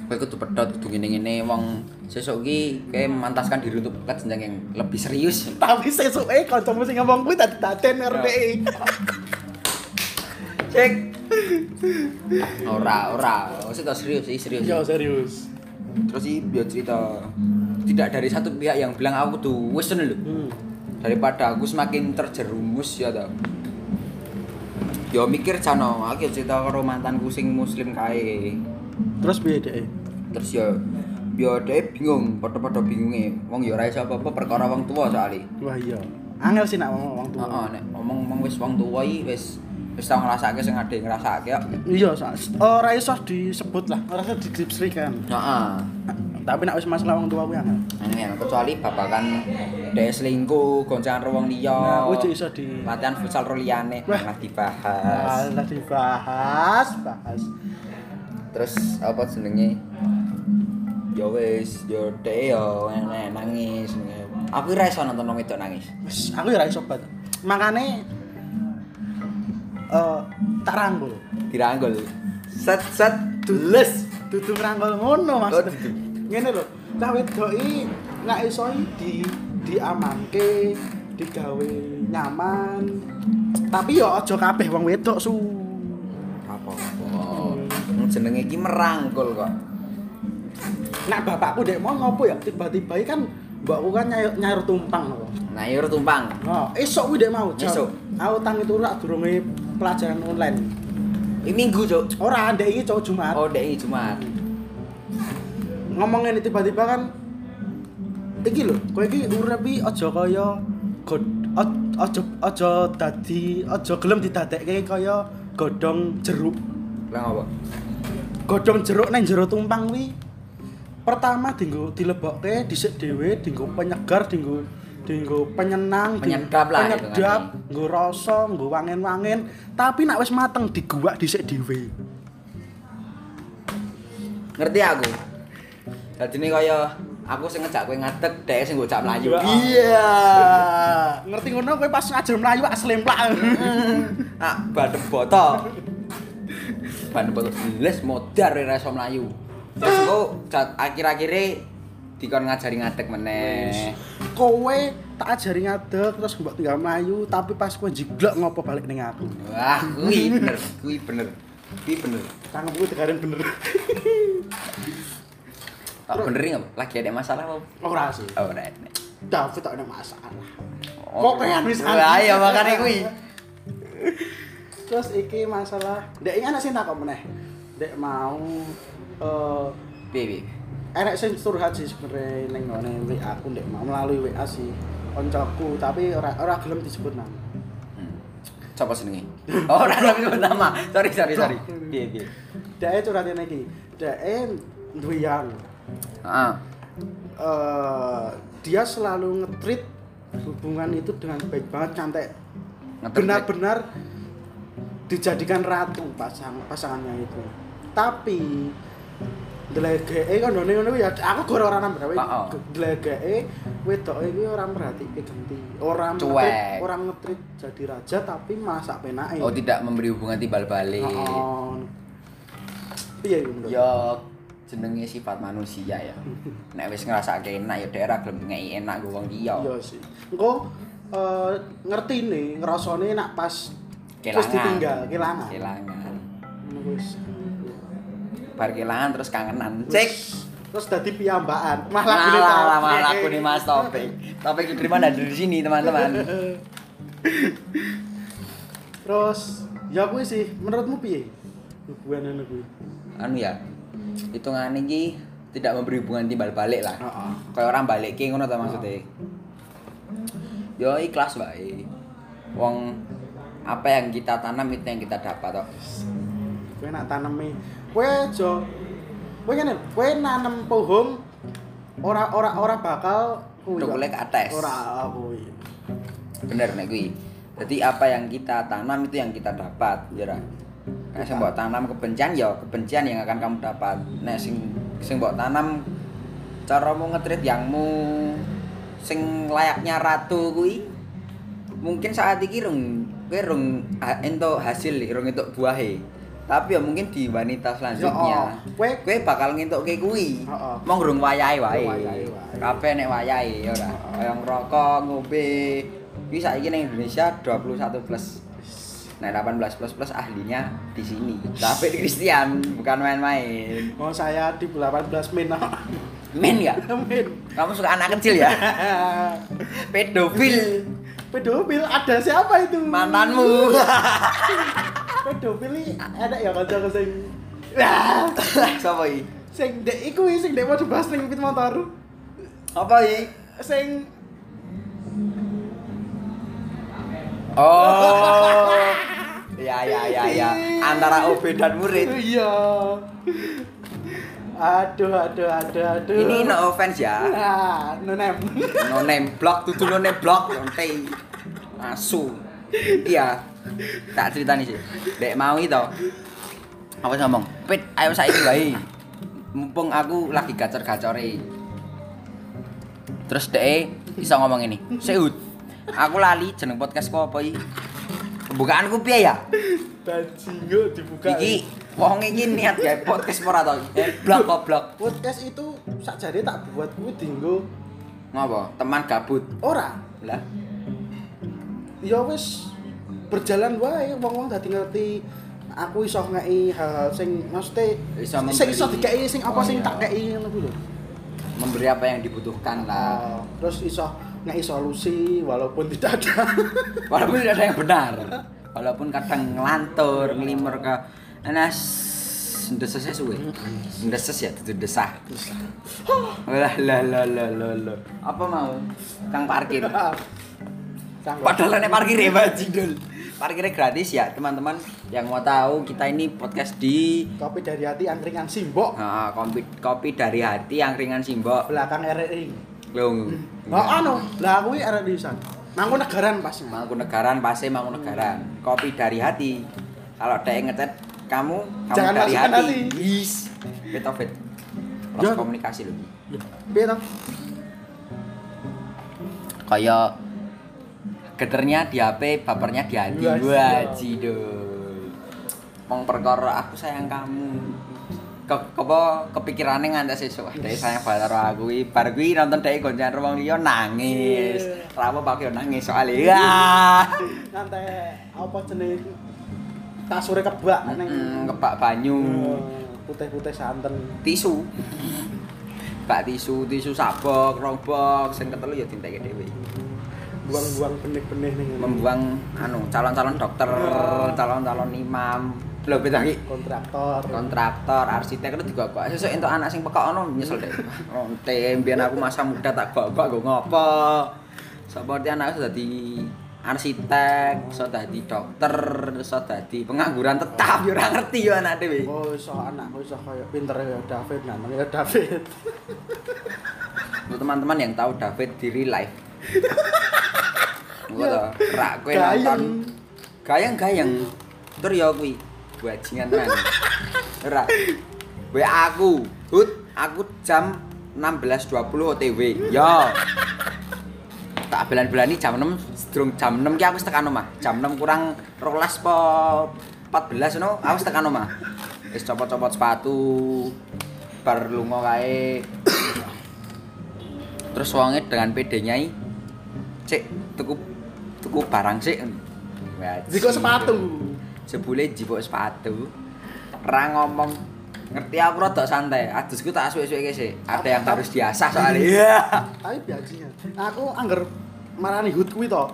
S2: kowe kudu pedot kudu ngene ngene wong sesuk iki kowe memantaskan diri untuk ke jenjang yang lebih serius
S1: Tapi sesuk eh kancamu sing ngomong kuwi tadi daden RDI.
S2: cek ora ora wis toh serius sih serius
S1: Yo Ya, serius.
S2: terus si dia cerita tidak dari satu pihak yang bilang aku tuh wis ngono lho
S1: Hmm.
S2: daripada aku semakin terjerumus ya tau yo mikir cano aku yo cerita karo mantanku sing muslim kae
S1: Terus piye dek?
S2: terus yo yo dhewe bingung padha-padha bingunge wong yo ora iso apa-apa perkara wong tua soalnya
S1: Wah iya. Angel sih nak ngomong wong
S2: heeh
S1: tua.
S2: nek omong-omong wis wong tua iki wis wis tau ngrasake sing ade ngrasake kok
S1: Iya, sa- ora iso disebut lah, ora iso dikripsikan.
S2: heeh
S1: Tapi nak wis masalah wong tua kuwi angel.
S2: Angel, kecuali babakan dhewe selingkuh goncangan karo wong liya
S1: Nah, kuwi cek iso di-
S2: latihan futsal ro liyane
S1: Wah.
S2: malah dibahas
S1: Alah dibahas, bahas.
S2: terus apa jenenge ya wis yo dhek yo enek nangis aku ora iso nonton wong wedok nangis
S1: Wis, aku ya ora iso banget. Makane eh tak rangkul.
S2: diranggul set set dules
S1: Dudu ngrangkul ngono maksudnya.
S2: Oh, dudu.
S1: Ngene lho, cah wedok iki nek iso i di diamanke, digawe nyaman. Tapi ya aja kabeh wong wedok su.
S2: apa jenenge iki merangkul kok
S1: Nek bapakku dek mau ngopo ya tiba-tiba iki kan mbakku kan nyayur, nyayur tumpang lho.
S2: nayur tumpang
S1: Oh, esok kuwi dek mau. Jam.
S2: Esok.
S1: Aku tang itu rak durunge pelajaran online.
S2: ini minggu cuk
S1: Ora ndek iki cowok Jumat.
S2: oh dhek iki jumat
S1: ngomongin tiba-tiba kan iki lho kowe iki urip iki aja kaya god o- aja aja dadi aja gelem didadekke kaya godhong jeruk
S2: lah apa
S1: godhong jeruk nang jero tumpang kuwi pertama dinggo dilebokke dhisik dhewe dinggo penyegar dinggo dinggo penyenang dinggo
S2: Penyedap lah itu
S1: penyedap
S2: kan.
S1: nggo rasa nggo wangen-wangen tapi nak wis mateng diguwak dhisik dhewe
S2: ngerti aku dadi ini kaya aku sing ngejak kowe ngadeg dhek sing ngejak mlayu
S1: iya ngerti ngono kowe pas ngajar mlayu wak
S2: [laughs]
S1: slemplak
S2: ah badem boto badem boto les modar ora iso mlayu terus engko ca- akhir-akhire dikon ngajari ngadeg meneh
S1: kowe tak ajari ngadeg terus mbok tinggal mlayu tapi pas kowe jiglek ngopo balik ning aku
S2: wah kuwi bener kuwi bener Iki bener.
S1: Cangkemku tegaren bener.
S2: Tak bener nggak? Lagi ada masalah apa?
S1: [laughs] Ora sih.
S2: Oh, ora ada.
S1: David tak ada masalah.
S2: Oh.
S1: Kok kayak wis
S2: Lah iya makane kuwi.
S1: Terus iki masalah, ndek iki ana sing takok meneh. Ndek mau eh
S2: Piye piye?
S1: enek sing curhat sih sebenarnya ning ngene WA aku ndek mau melalui WA sih koncoku tapi ora ora gelem disebut nama.
S2: Hmm.
S1: [laughs]
S2: Coba senengi. Oh, ora tapi sebut nama. Sorry, sorry, sorry. Piye piye?
S1: Dek curhatin iki. Dek duwe yang
S2: Heeh.
S1: eh, dia selalu nge-treat hubungan itu dengan baik banget cantik.
S2: Nge-treat
S1: Benar-benar dijadikan ratu pasang pasangannya itu. Tapi delegee kan dene ngono ya aku gora ora nambah
S2: Heeh.
S1: wae. Delegee wedoke iki ora merhatiin ganti. Ora
S2: Cuek.
S1: nge-treat- ora nge-treat jadi raja tapi masak penake.
S2: Oh, tidak memberi hubungan timbal balik.
S1: Heeh. Piye iki
S2: Ya,
S1: menurut?
S2: Yo jenenge sifat manusia ya. Nek wis ngrasake enak ya daerah gelem ngeki enak go wong liya.
S1: Iya sih. Engko eh, ngerti nih, ngerasane nak pas terus
S2: Kelangan.
S1: ditinggal, kelangan.
S2: Kelangan.
S1: Ngono wis.
S2: Bar kelangan terus kangenan. Cek.
S1: Terus dadi piyambakan. Malah eh, gini
S2: Malah lah
S1: tau.
S2: malah aku nih mas
S1: [laughs]
S2: topik. Topik diterima dari sini teman-teman.
S1: Terus ya kuwi sih, menurutmu piye? Hubungan ngono kuwi.
S2: Anu ya. Hitungan iki tidak memberi hubungan timbal balik lah.
S1: Heeh.
S2: Kayak orang balik ke ngono ta maksudnya. Yo ikhlas wae. Wong apa yang kita tanam itu yang kita dapat toh.
S1: Kowe nak tanemi, kowe aja kowe ngene, kowe nanem pohon ora ora ora bakal kuwi. ya.
S2: Udah boleh ke atas.
S1: Oh, Ora kuwi.
S2: bener nek kuwi jadi apa yang kita tanam itu yang kita dapat ya ra nek sing mbok tanam kebencian ya kebencian yang akan kamu dapat nek sing sing mbok tanam caramu ngetrit yangmu sing layaknya ratu kuwi mungkin saat iki rung kowe rung ha- entuk hasil rung entuk buahe tapi ya mungkin di wanita selanjutnya
S1: Ya, oh.
S2: kowe
S1: Kowe-
S2: bakal ngentuk ke kuwi
S1: Oh, oh.
S2: mong rung wayahe wae
S1: Rung wayahe wae.
S2: kabeh nek wayahe ya ora kaya ngerokok ngombe iki saiki ning Indonesia 21 plus nah 18 plus plus ahlinya di sini tapi di Christian bukan main-main
S1: Mau saya di 18 [laughs] menit.
S2: men ya
S1: Menit. [laughs]
S2: kamu suka anak kecil ya pedofil
S1: pedofil ada siapa itu
S2: mantanmu [laughs]
S1: pedofil ini ada ya kanca sing
S2: siapa i
S1: sing dek iku iki, sing dek mau dibahas ning pit motor
S2: apa i
S1: sing
S2: oh [laughs] ya ya ya ya antara OB dan murid
S1: iya aduh aduh aduh aduh Ah,
S2: ini no offense ya
S1: nah no name
S2: no name block tutu no name block lonte asu iya tak cerita nih sih dek mau itu aku wis ngomong pit ayo saiki wae mumpung aku lagi gacor-gacore terus dek bisa ngomong ini seut aku lali jeneng podcastku apa iki pembukaanku piye ya
S1: bajingo dibuka
S2: iki wong iki niat gawe podcast ora to Eh, blok goblok
S1: podcast itu sakjane tak buat kuwi dinggo
S2: ngopo teman gabut
S1: ora
S2: lah
S1: ya wis berjalan wae wong-wong dadi ngerti aku iso ngeki hal-hal sing mesti
S2: Iso
S1: sing
S2: memberi-
S1: iso dikeki sing apa
S2: Oh,
S1: sing
S2: iya. Nah.
S1: tak keki ngono kuwi lho.
S2: memberi apa yang dibutuhkan lah
S1: Ah, terus iso ngeki solusi walaupun tidak ada.
S2: walaupun tidak ada yang benar walaupun kadang ngelantur ngelimer ke anas ndeses ya suwe ndeses ya itu desah lah lah lah lah lah lah. apa mau kang parkir
S1: Sanggup.
S2: padahal nek parkir ya bajing dul parkirnya gratis ya teman-teman yang mau tahu kita ini podcast di
S1: Kopi dari hati angkringan simbok
S2: ah, kopi, kopi dari hati angkringan simbok
S1: belakang RRI.
S2: Lung.
S1: Lah anu, lah kuwi RRI san. Nang kono Nah, negaran pas.
S2: Mangkunegaran pasti Mangkunegaran.
S1: Hmm.
S2: Kopi dari hati. Kalau ada yang ngetet kamu, kamu
S1: Jangan
S2: dari
S1: masukkan
S2: hati.
S1: hati.
S2: Yes. Beta fit.
S1: Ya.
S2: Lost komunikasi lho.
S1: Piye to?
S2: Kayak geternya di HP, bapernya di hati.
S1: Wah, siap.
S2: Wajidul. Mong perkara aku sayang kamu. Ke kepo kepikirannya nganti sesuk. Dek sayang banget karo aku iki. Bar kuwi nonton dek goncengan wong liya nangis.
S1: Iya.
S2: Iya. Rapo pakai nangis soalnya. Ya.
S1: Nanti apa jenenge? kasure kebak neng
S2: Mm, kebak banyu,
S1: Hmm. putih-putih santen.
S2: tisu. Kebak tisu, tisu sabok, robok, sing ketelu ya dinteke dhewe.
S1: Buang-buang benih-benih ning
S2: Membuang anu calon-calon dokter, calon-calon imam. Lho beda iki.
S1: kontraktor.
S2: kontraktor arsitek itu digokok sesuk entuk anak sing pekok ono nyesel deh onte mbiyen aku masa muda tak gokok nggo ngopo seperti anak sudah di arsitek iso dadi dokter iso dadi pengangguran tetap yo ora ngerti yo anak dhewe
S1: Oh, iso anakku iso koyo pinter ya David namanya ya David. [laughs]
S2: Untuk teman-teman yang tahu David di real life Gue tau, rak gue
S1: Gayeng.
S2: nonton Gayang-gayang Tur ya kui Bajingan tenan Rak Gue aku Hut, aku jam 16.20 OTW Yo Tak belan-belani jam 6 Sedurung jam 6 ki aku wis tekan omah Jam 6 kurang rolas po 14 no, aku wis tekan omah Wis copot-copot sepatu Bar lunga kae terus wonge dengan PD-nya cek tuku tuku barang sik Wajib.
S1: Jiko sepatu.
S2: jebule jipuk sepatu ra ngomong ngerti aku rada santai adusku tak asuke-suke sik ada yang harus diasah soalnya iya [laughs]
S1: Tapi biasanya aku angger marani hut kuwi to.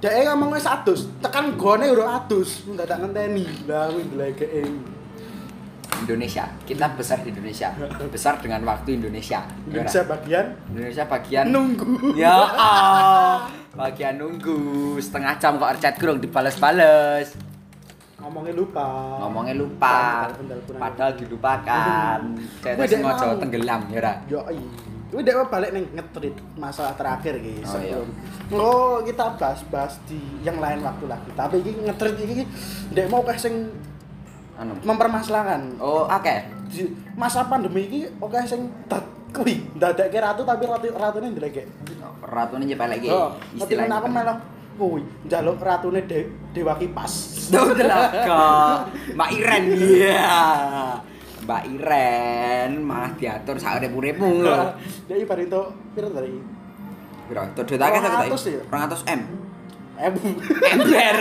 S1: Dek ngomong wis adus, tekan gone urung adus, enggak tak ngenteni. Lah e. kuwi ndlegeke.
S2: Indonesia kita besar di Indonesia besar dengan waktu Indonesia Ora?
S1: Indonesia bagian
S2: Indonesia bagian
S1: nunggu.
S2: ya Allah. bagian nunggu setengah jam kok chat kurang dibales-bales
S1: Ngomongnya lupa.
S2: ngomongnya lupa
S1: Bentar, bentar, kurang.
S2: padahal dilupakan saya
S1: Wih, dia
S2: sengaja
S1: mau.
S2: tenggelam ya ora
S1: Yo iya. Kuwi dek balik ning ngetrit masalah terakhir iki
S2: Oh,
S1: sebelum. Oh, kita bahas-bahas di yang lain waktu lagi. Tapi iki ngetrit iki dek mau kayak sing
S2: anu
S1: mempermasalahkan.
S2: oh oke
S1: Di masa pandemi iki oke sing dat kuwi ndadekke ratu tapi ratu ratune ndeleke.
S2: ratune nyepelek iki
S1: Oh, tapi
S2: istilahnya
S1: aku malah kuwi njaluk ratune de, dewa
S2: [laughs]
S1: kipas.
S2: Duh, telaga. Mbak Iren iya Mbak Iren malah diatur sak urip-uripmu lho
S1: Dek iki bar entuk pira tadi?
S2: piro to dotake sak
S1: 200 ya?
S2: 200
S1: [laughs]
S2: M
S1: Eh, bu. [laughs]
S2: ember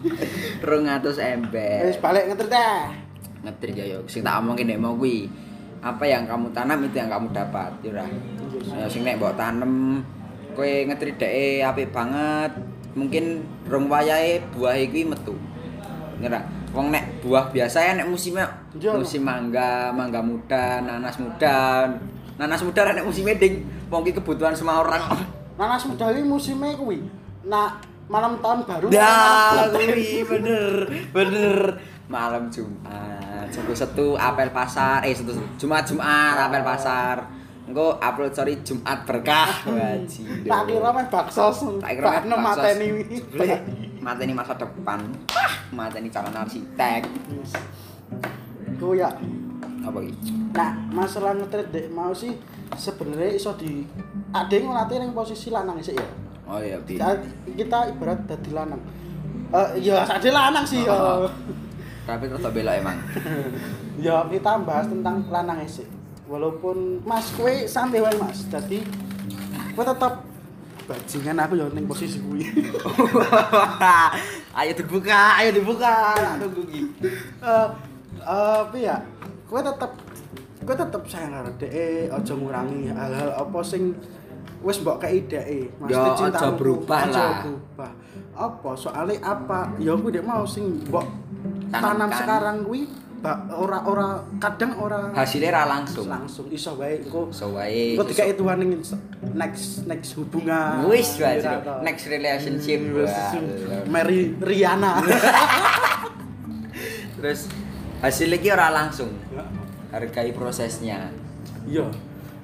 S2: 200 ember
S1: wis balik ngetrit eh.
S2: ngetrik ya yo sing tak omongke nek mau kuwi apa yang kamu tanam itu yang kamu dapat ya ora Ya, sing nek mbok tanem kowe ngetrik dheke apik banget mungkin rong wayahe buahe kuwi metu Ya ora wong nek buah biasa ya nek musim
S1: Iya.
S2: musim mangga mangga muda nanas muda nanas muda ra nek musimnya ding mungkin kebutuhan semua orang
S1: Nanas muda ini musimnya kuwi. Nah, malam tahun baru.
S2: Ya,
S1: malam bulan.
S2: kuwi bener, bener. Malam Jumat, Setu Setu apel pasar, eh Setu Jumat Jumat apel pasar. Engko upload sorry Jumat berkah. Wajib.
S1: Tak kira meh bakso.
S2: tak kira
S1: Bakno mateni. Ah.
S2: Mateni masa depan. Mateni calon arsitek.
S1: Kuwi ya.
S2: Apa iki?
S1: Nah, masalah ngetrit dek mau sih sebenarnya iso di ade ngelatih ning posisi lanang sih ya.
S2: Oh iya, di.
S1: Kita- Kita ibarat dadi lanang. Eh ya sak lanang sih ya.
S2: Oh, Tapi terus tak belok emang. [laughs]
S1: Ya kita bahas tentang lanang sih. Walaupun Mas kue santai wae Mas. Jadi kue tetap bajingan aku ya ning posisi kuwi.
S2: ayo dibuka, ayo dibuka. Tak Tunggu iki.
S1: eh eh, apa ya gue tetep gue tetep sayang karo dhek aja ngurangi hal-hal apa sing wis mbok kei dhek
S2: Ya, aja berubah lah.
S1: berubah apa soalnya apa ya aku dek mau sing mbok tanam
S2: Tanamkan.
S1: sekarang kuwi bak- ora ora kadang ora
S2: Hasilnya ra langsung.
S1: langsung iso wae engko
S2: So wae.
S1: engko dikai Tuhan ning next next hubungan
S2: Wis wae.
S1: Kira tau.
S2: Next relationship.
S1: Wis,
S2: Wah.
S1: Mary Riana
S2: [laughs] Terus hasil iki ora langsung. Hargai prosesnya.
S1: Iya.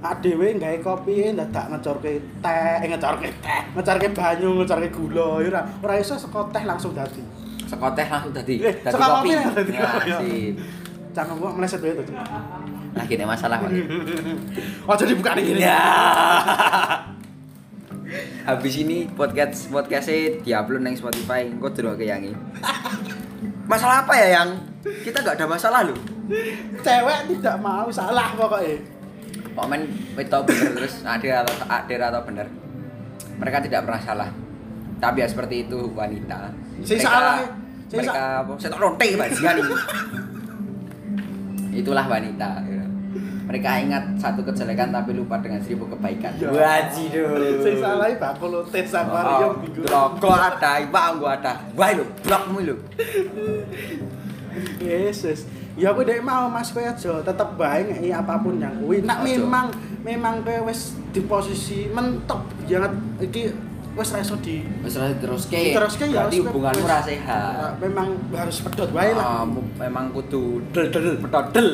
S1: Ak dhewe gawe kopi dadak ngecorke teh, eh, ngecorke teh, ngecorke banyu, ngecorke gula, ya ora ora iso saka teh langsung dadi.
S2: Seko teh langsung dadi
S1: Eh,
S2: dadi
S1: saka
S2: kopi.
S1: kopi lah dadi
S2: Ya,
S1: kopi, ya.
S2: sip.
S1: Jangan kok meleset wae to.
S2: Lagi nek masalah Pak.
S1: Aja dibuka ning ngene.
S2: Ya. [laughs] Habis ini podcast podcastnya diupload neng Spotify, engko dulu ke Yangi. Masalah apa ya yang? Kita nggak ada masalah loh.
S1: Cewek tidak mau salah pokoknya.
S2: Komen wetok bener terus ada atau ada atau bener. Mereka tidak pernah salah. Tapi ya seperti itu wanita.
S1: Sing
S2: Mereka-
S1: salah, sing
S2: mereka apa? Setok roti bajian ini. Itulah wanita. ya. Mereka ingat satu kejelekan tapi lupa dengan seribu kebaikan.
S1: Ya.
S2: Wajib
S1: Sing salah iki bakul tet sama yo
S2: Oh,
S1: minggu.
S2: Rokok ada, ibang gua ada. Wah lu, blokmu lu.
S1: Yesus. Ya aku dek mau Mas kowe aja tetep bae ngeki apapun yang kuwi. Nak
S2: Aja.
S1: memang memang kowe wis di posisi mentok banget iki wis ra iso di
S2: Wis terus ke.
S1: diteruske ya wis
S2: berarti
S1: kowe-
S2: hubunganmu
S1: wis-
S2: ra sehat.
S1: Memang harus pedot wae lah.
S2: Ah, mu- memang kudu del del pedodel.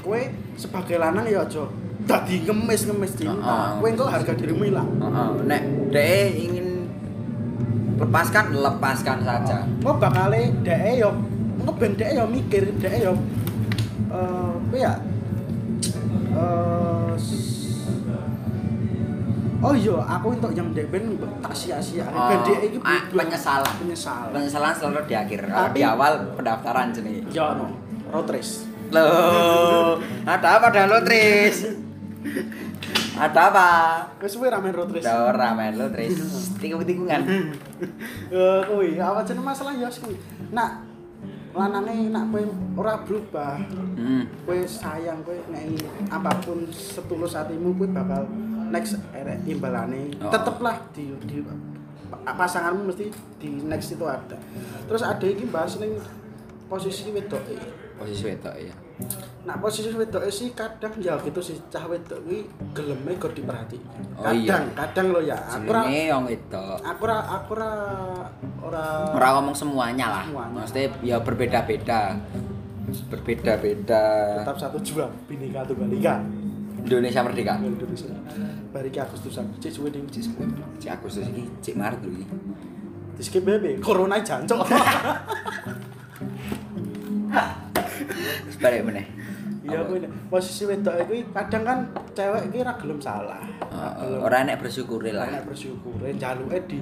S1: kowe sebagai lanang ya aja dadi ngemis-ngemis
S2: Heeh.
S1: cinta. Kowe engko harga dirimu hilang.
S2: Heeh, nek dee ingin lepaskan, lepaskan saja.
S1: Mau bakale dhek yo engko ben dhek yo mikir, dhek yo eh kowe ya eh s- Oh iya, aku untuk yang dhek ben tak sia-sia.
S2: Oh,
S1: ben dhek iki
S2: ah,
S1: butuh
S2: penyesalan.
S1: Penyesalan.
S2: Penyesalan selalu di akhir, kalau
S1: Tapi-
S2: di awal pendaftaran jenis.
S1: Ya no, road race.
S2: Loh, ada apa dengan lo Tris? ada apa?
S1: Wis suwe ramen road race.
S2: Ada orang main lo Tris, tikung-tikungan.
S1: Eh, kuwi apa jeneng masalah ya kuwi. Nak lanange nak kowe ora berubah,
S2: Hmm.
S1: kowe sayang kowe ngei apapun setulus hatimu kowe bakal next erek imbalane
S2: Oh.
S1: teteplah di, di pa- pasanganmu mesti di next itu ada terus ada iki bahas ning posisi wedok
S2: Posisi wedok ya.
S1: nah posisi wedok sih kadang ya gitu sih cah wedok kuwi geleme kok diperhatiin
S2: Oh,
S1: kadang
S2: iya.
S1: kadang lo ya aku ra
S2: Jenenge yang wedok.
S1: aku ra aku ra ora
S2: Ora ngomong semuanya lah.
S1: Semuanya.
S2: Maksudnya ya berbeda-beda. Berbeda-beda.
S1: tetap satu jua binika tunggal ika
S2: Indonesia merdeka.
S1: Indonesia bariki Agustusan cek suwe ning cek suwe
S2: Cik Agustus ini, Cik Maret dulu ini.
S1: Di skip bebe, corona jancok.
S2: Sebalik meneh.
S1: Iya
S2: Apa?
S1: kuwi posisi wedok iku kadang kan cewek iki ra gelem salah. Ra
S2: Oh,
S1: gelem
S2: oh, Ora enek bersyukuri
S1: ora
S2: lah.
S1: enak bersyukure jaluke di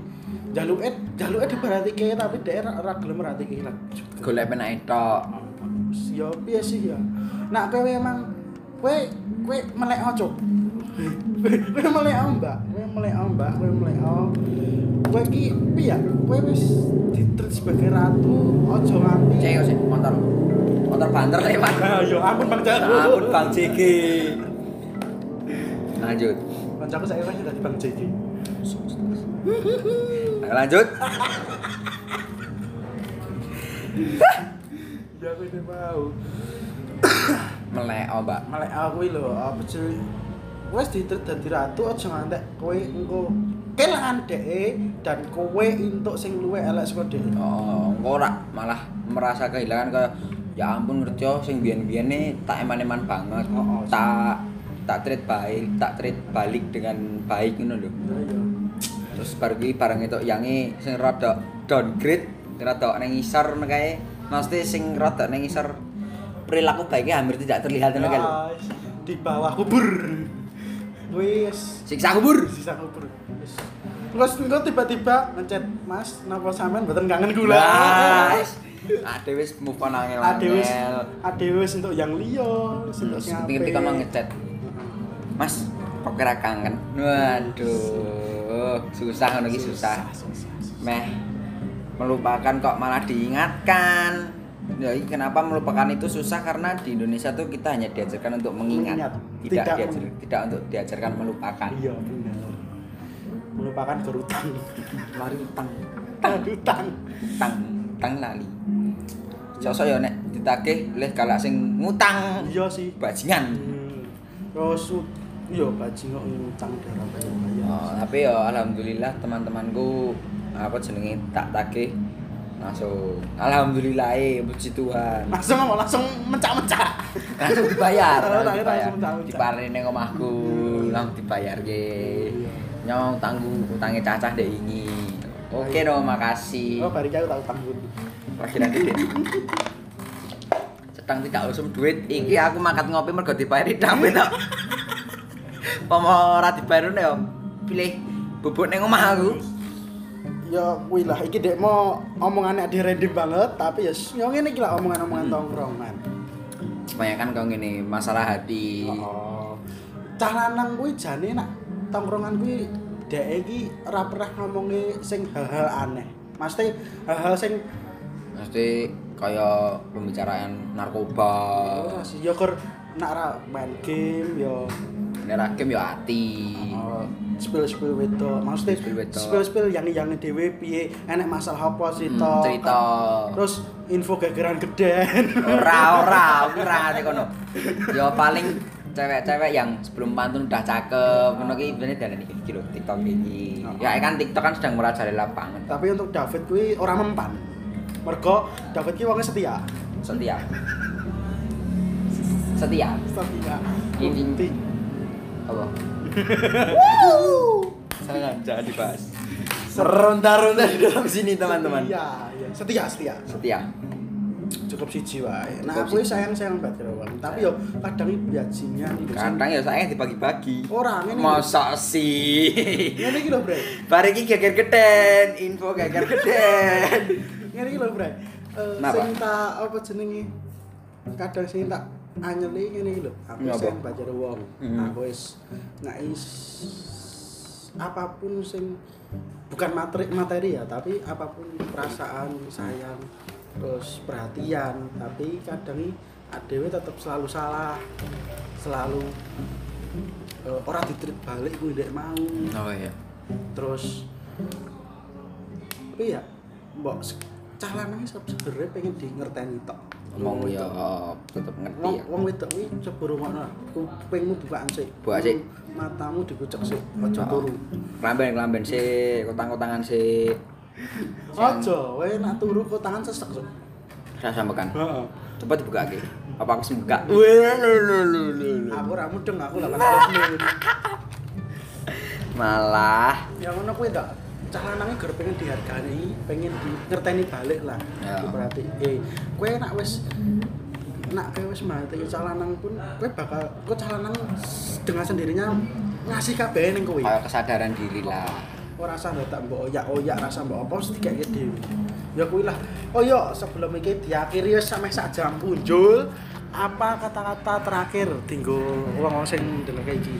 S1: jaluke jaluke diperhatike tapi dhek ra ra gelem merhatike lah.
S2: Golek penake tok.
S1: Ya piye sih ya. Nak kowe emang kowe kowe melek ojo. Kowe melek o, Mbak. Kowe melek o, Mbak. Kowe melek o. Kowe iki piye? Kowe wis ditreat sebagai ratu, ojo nganti.
S2: Cek yo sik motor. Motor banter lewat.
S1: Ah, yo ampun Bang Jago.
S2: Ampun Bang JG. Lanjut.
S1: Kancaku saya lagi tadi Bang JG.
S2: Ayo lanjut.
S1: Ya aku ini mau.
S2: Melek oh, Mbak.
S1: Malek aku iki lho, apa cuy? Wes ditret dadi ratu aja ngantek kowe engko kelangan dhek e, dan kowe entuk sing luwe elek saka dhek. e.
S2: Oh, engko ora malah merasa kehilangan ke ya ampun kerja sing biyen-biyene tak eman-eman banget.
S1: Oh, oh.
S2: Tak tak treat baik, tak treat balik dengan baik ngono lho.
S1: Ya ya.
S2: Terus baru iki barang itu yangi sing rada downgrade, rada nang ngisor ngono kae. Mesti sing rada nang ngisor perilaku baiknya hampir tidak terlihat ngono kae. lho.
S1: Guys, Di bawah kubur. Wes
S2: Siksa kubur.
S1: sisa kubur. Wes. Terus engko tiba-tiba ngechat, "Mas, napa sampean mboten kangen kula?"
S2: Guys. Ade wis move on
S1: Ade
S2: angel-angel.
S1: wis ade wis entuk yang liya, wis entuk sing apik.
S2: Ketika mau ngechat, Mas, kok kira kangen? Waduh, susah ngono iki susah.
S1: susah, susah.
S2: Meh melupakan kok malah diingatkan. Ya, iki kenapa melupakan itu susah karena di Indonesia tuh kita hanya diajarkan untuk mengingat,
S1: Mengingat.
S2: tidak
S1: Tidak
S2: diajar,
S1: meng-
S2: tidak untuk diajarkan melupakan.
S1: Iya benar. Melupakan gerutang,
S2: Lari utang,
S1: gerutang.
S2: tang, tang lali. Sosok ya nek ditagih leh kalau sing ngutang
S1: Iya sih.
S2: bajingan.
S1: Hmm. Terus iya bajingok ngutang darah bayar bayar.
S2: Oh, tapi ya alhamdulillah teman-temanku apa jenenge tak tagih langsung alhamdulillah eh puji Tuhan
S1: Langsung apa? Langsung mencak-mencak.
S2: langsung dibayar
S1: Oh,
S2: langsung
S1: tak kira
S2: dibayar
S1: langsung tahu, Cak.
S2: diparene ning omahku langsung dibayar ge nyong tanggu utange cacah dek ini oke dong makasih
S1: Oh, bari aku tahu tanggut.
S2: lagi nanti dek sedang tidak usum duit iki aku makat ngopi mergo dibayar tapi tok pomo ora dibayar yo pilih bubuk ning omah aku
S1: Ya kuwi lah iki dek mau omongane ade random banget tapi ya yo ngene iki lah omongan-omongan tongkrongan.
S2: kebanyakan kau gini masalah hati
S1: Oh. Cah lanang kuwi jane nak tongkrongan kuwi dek iki ora pernah ngomongi sing hal-hal aneh mesti hal-hal sing
S2: Mesti kayak pembicaraan narkoba.
S1: oh, si yoker nak ra main game yo
S2: Ini rakim ya ati. Oh,
S1: spill spill wedok maksudnya
S2: Spill-spill wedok.
S1: spill spill yang yang dhewe piye enek masalah apa cerita
S2: Hmm, cerita.
S1: terus info gegeran geden [laughs]
S2: Ora ora, aku ora ngerti kono. Ya paling cewek-cewek yang sebelum pantun udah cakep, ngono ki bener dan iki iki lho TikTok iki. Ya kan TikTok kan sedang merajai lapangan.
S1: tapi untuk David kuwi ora mempan mergo David kuwi wong setia
S2: Setia. Setia.
S1: setia
S2: Ini.
S1: bukti
S2: Apa? Sengaja dibahas. Seronda-ronda di dalam sini teman-teman.
S1: iya iya. setia setia
S2: Setia.
S1: cukup siji wae nah aku
S2: Cukup
S1: sayang sayang banget karo wong tapi yo kadang iki biajinya iki sing-
S2: Kadang ya saya dibagi-bagi.
S1: Ora, ngene.
S2: Masa sih.
S1: ngene iki lho bre
S2: Bari iki geger geden, info geger geden.
S1: ngene iki lho bre Eh,
S2: Napa?
S1: sing tak apa jenenge kadang sing tak anyeli ngene iki lho aku
S2: Napa?
S1: sayang banget karo wong
S2: Hmm.
S1: aku wis nek is apapun sing bukan materi materi ya tapi apapun perasaan sayang terus perhatian tapi kadang adewe tetap selalu salah selalu eh, orang ditrit balik gue tidak mau
S2: Oh iya.
S1: terus tapi ya mbok se- cah lanang se- sebenarnya pengen di ngerteni tok
S2: Ngomong ya tetep ngerti
S1: wong
S2: ya.
S1: wong wedok kuwi ceburu ngono kupingmu bukaan sik
S2: Bukaan sik.
S1: matamu dikucek sik aja
S2: Oh.
S1: turu
S2: Kelamben-kelamben sih, kotang-kotangan sih.
S1: aja wae nak turu kok tangan sesek Cuk.
S2: Rasa makan.
S1: heeh
S2: Coba dibuka lagi. Apa aku sih buka? Wih, lu, lu, lu, lu, lu.
S1: aku ra mudeng aku lah kan. pas
S2: Malah
S1: ya ngono kuwi tak cah lanange gur pengen dihargai, pengen di ngerteni balik lah.
S2: Ya.
S1: Berarti eh kowe nak wis nak kowe wis mati cah lanang pun kowe bakal kowe cah lanang s- dengan sendirinya ngasih kabeh ning kowe.
S2: kayak kesadaran diri lah.
S1: Ora rasa ndak tak mbok oyak-oyak rasa mbok apa mesti kaya dhewe. Ya kuwi lah. Oh yo sebelum iki diakhiri wis sampe sak jam punjul apa kata-kata terakhir tinggo wong-wong sing ndelok iki.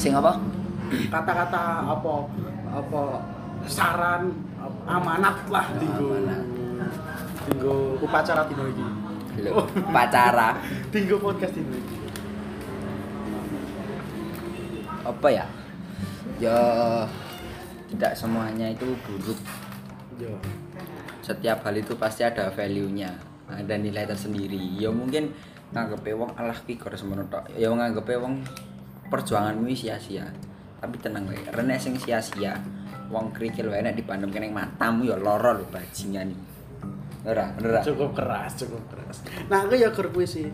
S2: Sing apa?
S1: kata-kata apa apa saran apa- amanat lah tinggo
S2: Amanat.
S1: tinggo upacara dino iki [laughs]
S2: Lho, pacara.
S1: tinggo podcast dino iki
S2: Apa ya? Ya tidak semuanya itu buruk.
S1: yo
S2: setiap hal itu pasti ada value-nya ada nilai tersendiri ya mungkin nganggepe wong alah ki karo semono tok ya nganggepe wong perjuanganmu iki sia-sia tapi tenang wae rene sing sia-sia wong krikil wae nek dipandhem kene matamu ya lara lho bajingan iki ora bener ora?
S1: cukup keras cukup keras nah aku ya gur kuwi sih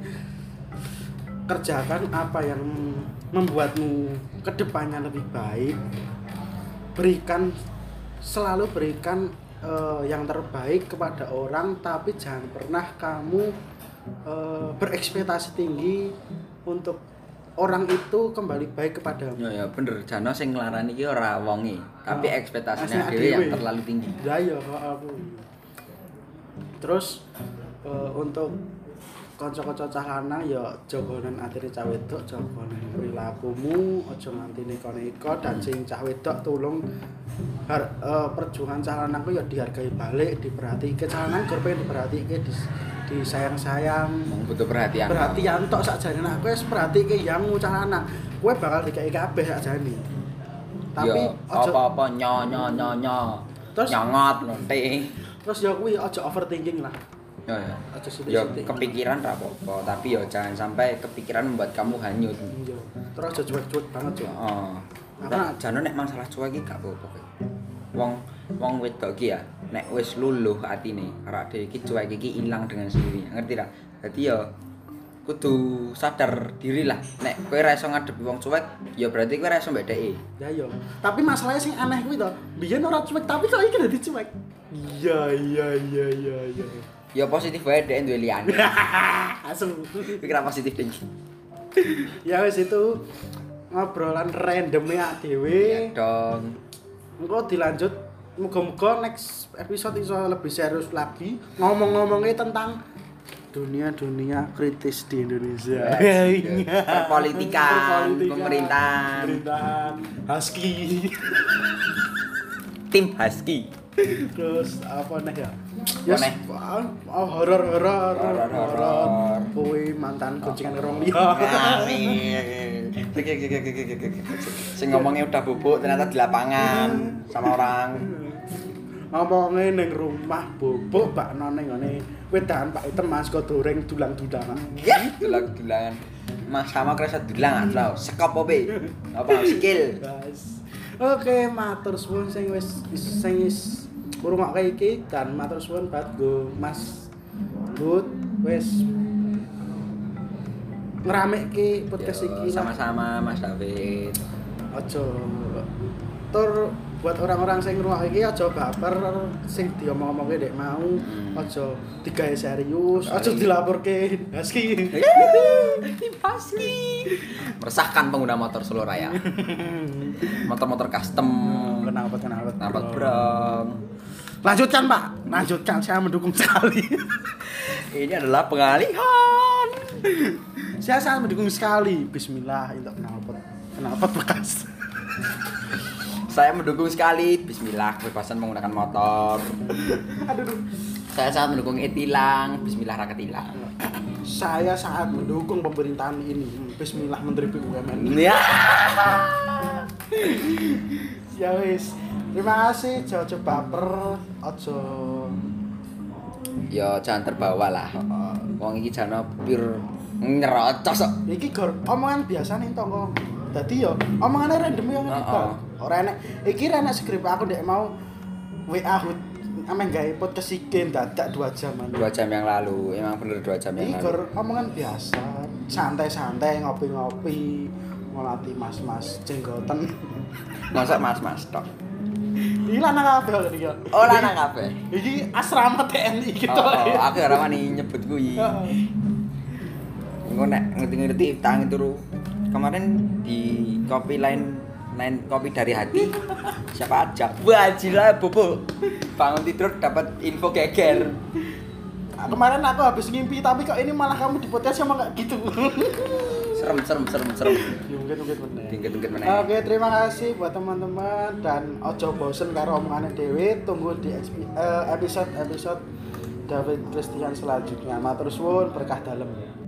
S1: kerjakan apa yang membuatmu kedepannya lebih baik berikan selalu berikan eh, yang terbaik kepada orang tapi jangan pernah kamu eh, berekspektasi tinggi untuk orang itu kembali baik kepadamu
S2: ya ya bener jano sing nglarani iki ora wonge tapi
S1: Oh,
S2: ekspektasinya
S1: ekspektasi
S2: dhewe yang
S1: dhewe.
S2: terlalu tinggi
S1: Ya ya kok aku. Terus eh, untuk kanca-kanca cah lanang ya jagoan atire cah wedok jagoan perilakumu aja nganti neko-neko dan sing cah wedok tulung har, eh, perjuangan cah lanang ku ya dihargai balik diperhatike cah lanang gur pengen diperhatike dis, disayang-sayang
S2: Wong butuh perhatian
S1: perhatian tok sakjane nah kowe wis perhatike yang cah lanang kowe bakal dikai kabeh sakjane
S2: tapi
S1: tapi aja
S2: Ya, apa-apa nyo nyo nyo nyo
S1: Terus-
S2: nyongot lonting
S1: terus ya kuwi aja overthinking lah
S2: Ya, ya.
S1: Aja
S2: Ya,
S1: sithik-sithik.
S2: kepikiran ra apa-apa, tapi ya jangan sampai kepikiran membuat kamu hanyut.
S1: Iya. Terus aja cuek-cuek banget cuy.
S2: Heeh.
S1: Aku nak-
S2: Nah, jane nek masalah cuek iki gak apa-apa. kowe. Wong wong wedok iki ya, nek wis luluh atine, ora dhewe iki cuek iki ilang dengan sendirinya. Ngerti ra? Dadi ya kudu sadar diri lah. Nek kowe ra iso ngadepi wong cuek, ya berarti kowe ra iso mbedeki.
S1: Ya yo. Tapi masalahnya sing aneh kuwi to, biyen ora cuek tapi kok iki dadi cuek. Iya iya iya iya iya.
S2: Ya positif wae dhek duwe liyane. [laughs]
S1: Asu.
S2: Pikiran positif ding.
S1: Ah, Ya wis itu ngobrolan randomnya
S2: Ya
S1: dhewe.
S2: dong.
S1: Engko dilanjut muga-muga next episode iso lebih serius lagi ngomong-ngomongnya tentang dunia-dunia kritis di Indonesia. [laughs]
S2: Perpolitikan,
S1: Perpolitikan,
S2: pemerintahan,
S1: pemerintahan, husky,
S2: tim Husky.
S1: terus apa nih ya?
S2: Apa
S1: Yes,
S2: nih?
S1: ah, oh, horor horor
S2: Horor,
S1: horor
S2: horor.
S1: horor. Kuwi mantan kucingan kerong
S2: [laughs]
S1: liya.
S2: Amin. Sing ngomongnya udah bubuk ternyata di lapangan sama orang.
S1: Ngomongnya ning rumah bubuk bak none ngene wedan Pak Item Mas kok dureng dulang-dulangan.
S2: Ya, dulang dulangan. Mas sama kerasa dulangan lo. Sekop obe. Apa sikil?
S1: Guys. Oke, matur suwun sing wis sing wis ngrungokke iki dan matur suwun buat go Mas Bud wis ngeramekke podcast
S2: Yo,
S1: iki lah.
S2: Sama-sama Mas David.
S1: Aja tur buat orang-orang sing ngrungokke iki aja baper sing diomong-omongke dek mau
S2: Hmm.
S1: aja digawe serius, aja
S2: Serius.
S1: dilaporke [laughs] Husky.
S2: Tim Husky. Meresahkan pengguna motor seluruh raya. Motor-motor custom.
S1: Kenapa kenapa?
S2: Nampak brong.
S1: Lanjutkan, Pak. Lanjutkan, saya mendukung sekali. [laughs]
S2: Ini adalah pengalihan.
S1: saya sangat mendukung sekali Bismillah untuk knalpot knalpot bekas [laughs]
S2: Saya mendukung sekali. Bismillah kebebasan menggunakan motor. Saya sangat mendukung etilang. Bismillah rakyat tilang.
S1: saya sangat mendukung pemerintahan ini Bismillah Menteri BUMN
S2: Ya.
S1: ya wis terima kasih jauh-jauh baper ojo
S2: Yo Ya, jangan terbawa lah. Wong iki jano pure nyerocos kok.
S1: iki gor omongan biasa nih tonggo tadi yo omongannya random yo ngene
S2: Heeh.
S1: Bang. ora enek iki ora enek skrip aku ndek mau WA hut ameng gawe podcast iki dadak 2 jam aneh.
S2: dua jam yang lalu emang bener dua jam yang
S1: Ini
S2: lalu.
S1: gor omongan biasa, santai-santai ngopi-ngopi, ngelatih mas-mas jenggoten. [laughs]
S2: Masa mas mas tok.
S1: Iki lanang kabeh kok iki.
S2: Oh lanang kabeh.
S1: Iki asrama TNI gitu.
S2: Oh, oh, aku ora wani nyebut kuwi.
S1: Heeh.
S2: Engko nek ngerti-ngerti tangi turu. Kemarin di kopi lain lain kopi dari hati. Siapa ajak? Wajilah bobo. Bangun tidur dapat info geger.
S1: Ah, Kemarin aku habis ngimpi tapi kok ini malah kamu di podcast sama kayak gitu.
S2: Serem serem serem serem.
S1: Ya, Mungkin-mungkin bener.
S2: Tingkat-tingkat meneh.
S1: Oke, terima kasih buat teman-teman dan ojo bosen karo omongannya Dewi. Tunggu di exp- eh, episode-episode David Christian selanjutnya. Matur suwun, berkah dalam.